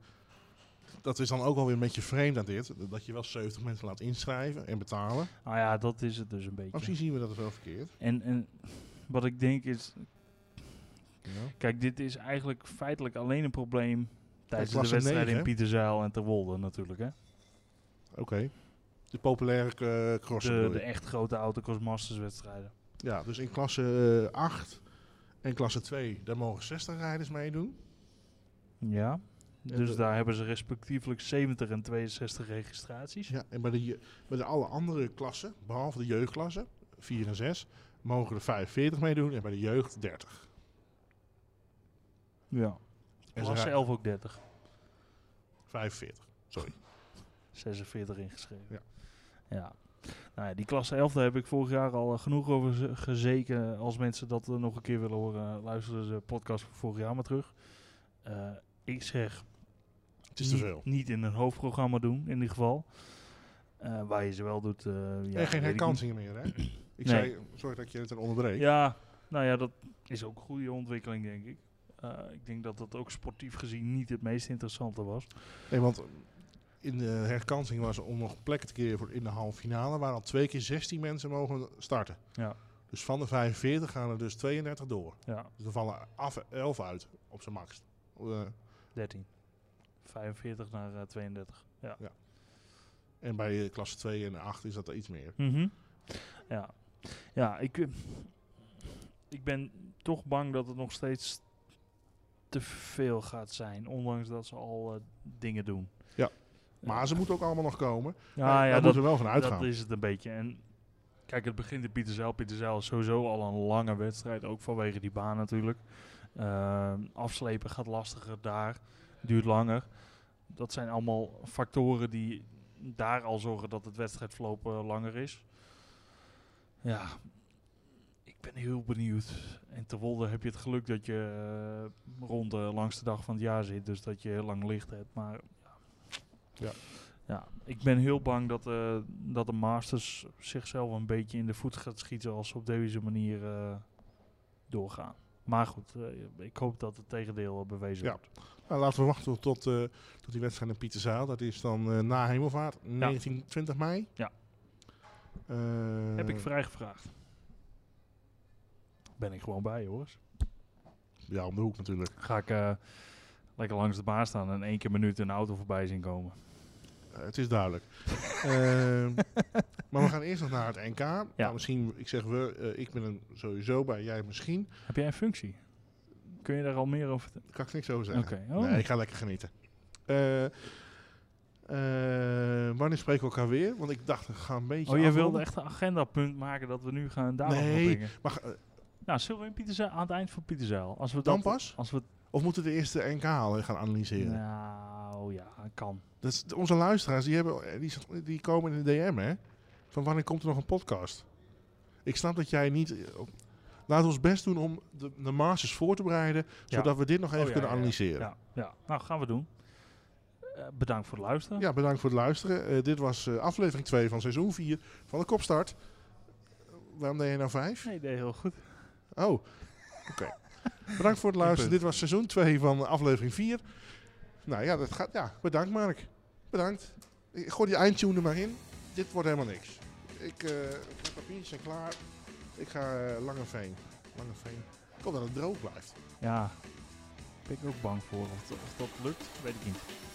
B: dat is dan ook alweer een beetje vreemd aan dit. Dat je wel 70 mensen laat inschrijven en betalen.
C: Nou ja, dat is het dus een
B: Maar misschien
C: beetje.
B: zien we dat wel verkeerd.
C: En, en wat ik denk is,
B: Ja.
C: kijk, dit is eigenlijk feitelijk alleen een probleem tijdens de
B: klasse
C: wedstrijd
B: 9,
C: in
B: hè?
C: Pieterzeil en Terwolde natuurlijk, hè?
B: Oké. De populaire eh crossen.
C: de,
B: bedoel je?
C: de echt grote autocross masters wedstrijden.
B: Ja, dus in klasse eh, 8 en klasse 2, daar mogen 60 rijders meedoen.
C: Ja. Dus
B: de-
C: daar hebben ze respectievelijk 70 en 62 registraties.
B: Ja, en bij de, je- bij de alle andere klassen, behalve de jeugdklassen, 4 en 6, mogen er 45 meedoen en bij de jeugd 30.
C: Ja.
B: En
C: Klasse
B: rijden
C: 11 ook 30.
B: 45.
C: 46 ingeschreven.
B: Ja.
C: Ja. Nou ja, die klasse 11 daar heb ik vorig jaar al eh, genoeg over ze- gezeken. Als mensen dat eh, nog een keer willen horen, eh, luisteren ze de podcast van vorig jaar maar terug. Eh, ik zeg
B: Het is te
C: niet-
B: veel.
C: Niet in een hoofdprogramma doen, in ieder geval. Eh, waar je ze wel doet. eh, ja,
B: en
C: weet ik
B: geen
C: niet.
B: herkansingen meer, hè? Ik zei, sorry dat ik je het onderbreek.
C: Ja, nou ja, dat is ook een goede ontwikkeling, denk ik. Eh, ik denk dat dat ook sportief gezien niet het meest interessante was.
B: Nee, want in de herkansing was om nog plek te creëren voor in de halve finale, waar al twee keer 16 mensen mogen starten.
C: Ja.
B: Dus van de 45 gaan er dus 32 door.
C: Ja,
B: Dus er vallen af 11 uit op zijn max. Eh,
C: 13. 45 naar eh, 32.
B: en bij eh, klasse 2 en 8 is dat er iets meer.
C: Mhm. Ja, ja ik, eh, ik ben toch bang dat het nog steeds te veel gaat zijn. Ondanks dat ze al eh, dingen doen. Eh,
B: Ja. Maar ze moeten ook allemaal nog komen.
C: ja,
B: daar
C: ja,
B: daar
C: dat,
B: moeten we wel van
C: Dat
B: uitgaan.
C: is het een beetje. En kijk, het begint in Pieterzeil. Pieterzeil is sowieso al een lange wedstrijd, ook vanwege die baan natuurlijk. Ehm, afslepen gaat lastiger daar, duurt langer. Dat zijn allemaal factoren die daar al zorgen dat het wedstrijdverloop eh, langer is. Ja, ik, Ik ben heel benieuwd. En te Wolde heb je het geluk dat je eh, rond de langste dag van het jaar zit. Dus dat je heel lang licht hebt. Maar
B: Ja.
C: ja ik ben heel bang dat, eh, dat de Masters zichzelf een beetje in de voet gaat schieten. Als ze op deze manier eh, doorgaan. Maar goed, eh, ik hoop dat het tegendeel eh, bewezen
B: Ja.
C: wordt.
B: Nou, laten we wachten tot, eh, tot die wedstrijd in Pieterzaal. Dat is dan eh, na Hemelvaart, 19, 20 mei.
C: Ja.
B: Eh,
C: Heb ik vrijgevraagd. Ben ik gewoon bij, hoor.
B: Ja, om de hoek natuurlijk.
C: Ga ik eh, lekker langs de baan staan en één keer minuut een auto voorbij zien komen.
B: Eh, het is duidelijk. Ehm, maar we gaan eerst nog naar het NK. Nou, misschien, ik zeg we, eh, ik ben er sowieso bij, jij misschien.
C: Heb jij een functie? Kun je daar al meer over vertellen?
B: Daar kan ik niks over zeggen.
C: Oké. Oh.
B: Nee, ik ga lekker genieten. Eh, eh, wanneer spreken we elkaar weer? Want ik dacht, we gaan een beetje
C: Oh, jij
B: afronden.
C: wilde echt een agendapunt maken dat we nu gaan daarop
B: Nee,
C: opbrengen.
B: Maar, ga- eh,
C: Nou, zullen we in Pieterzaal, aan het eind van Pieterzaal? Als we
B: dan
C: dat,
B: pas?
C: Als we,
B: Of moeten we de eerste NK halen gaan analyseren?
C: nou ja, kan.
B: Dat is- onze luisteraars, die, hebben, eh, die, die komen in de DM, hè? Van wanneer komt er nog een podcast? Ik snap dat jij niet... eh, op- Laten we ons best doen om de, de Masters voor te bereiden,
C: Ja. Oh,
B: zodat we dit nog even
C: ja,
B: kunnen
C: ja, ja.
B: analyseren. Ja.
C: Ja, ja, nou gaan we doen. Eh, bedankt voor het luisteren.
B: bedankt voor het luisteren. Eh, dit was eh, aflevering 2 van seizoen 4 van de Kopstart. Eh, Waarom deed je nou 5?
C: Nee, deed heel goed.
B: Oh, oké. Bedankt voor het luisteren.
C: punt.
B: Dit was seizoen 2 van aflevering 4. Nou ja, dat gaat, ja, bedankt Mark. Bedankt. Ik gooi die eindtune er maar in. Dit wordt helemaal niks. Ik, eh mijn papiertjes zijn klaar. Ik ga eh, Langeveen. Langeveen. Ik hoop dat het droog blijft.
C: Ja, ben ik ook bang voor. Of, of dat lukt, weet ik niet.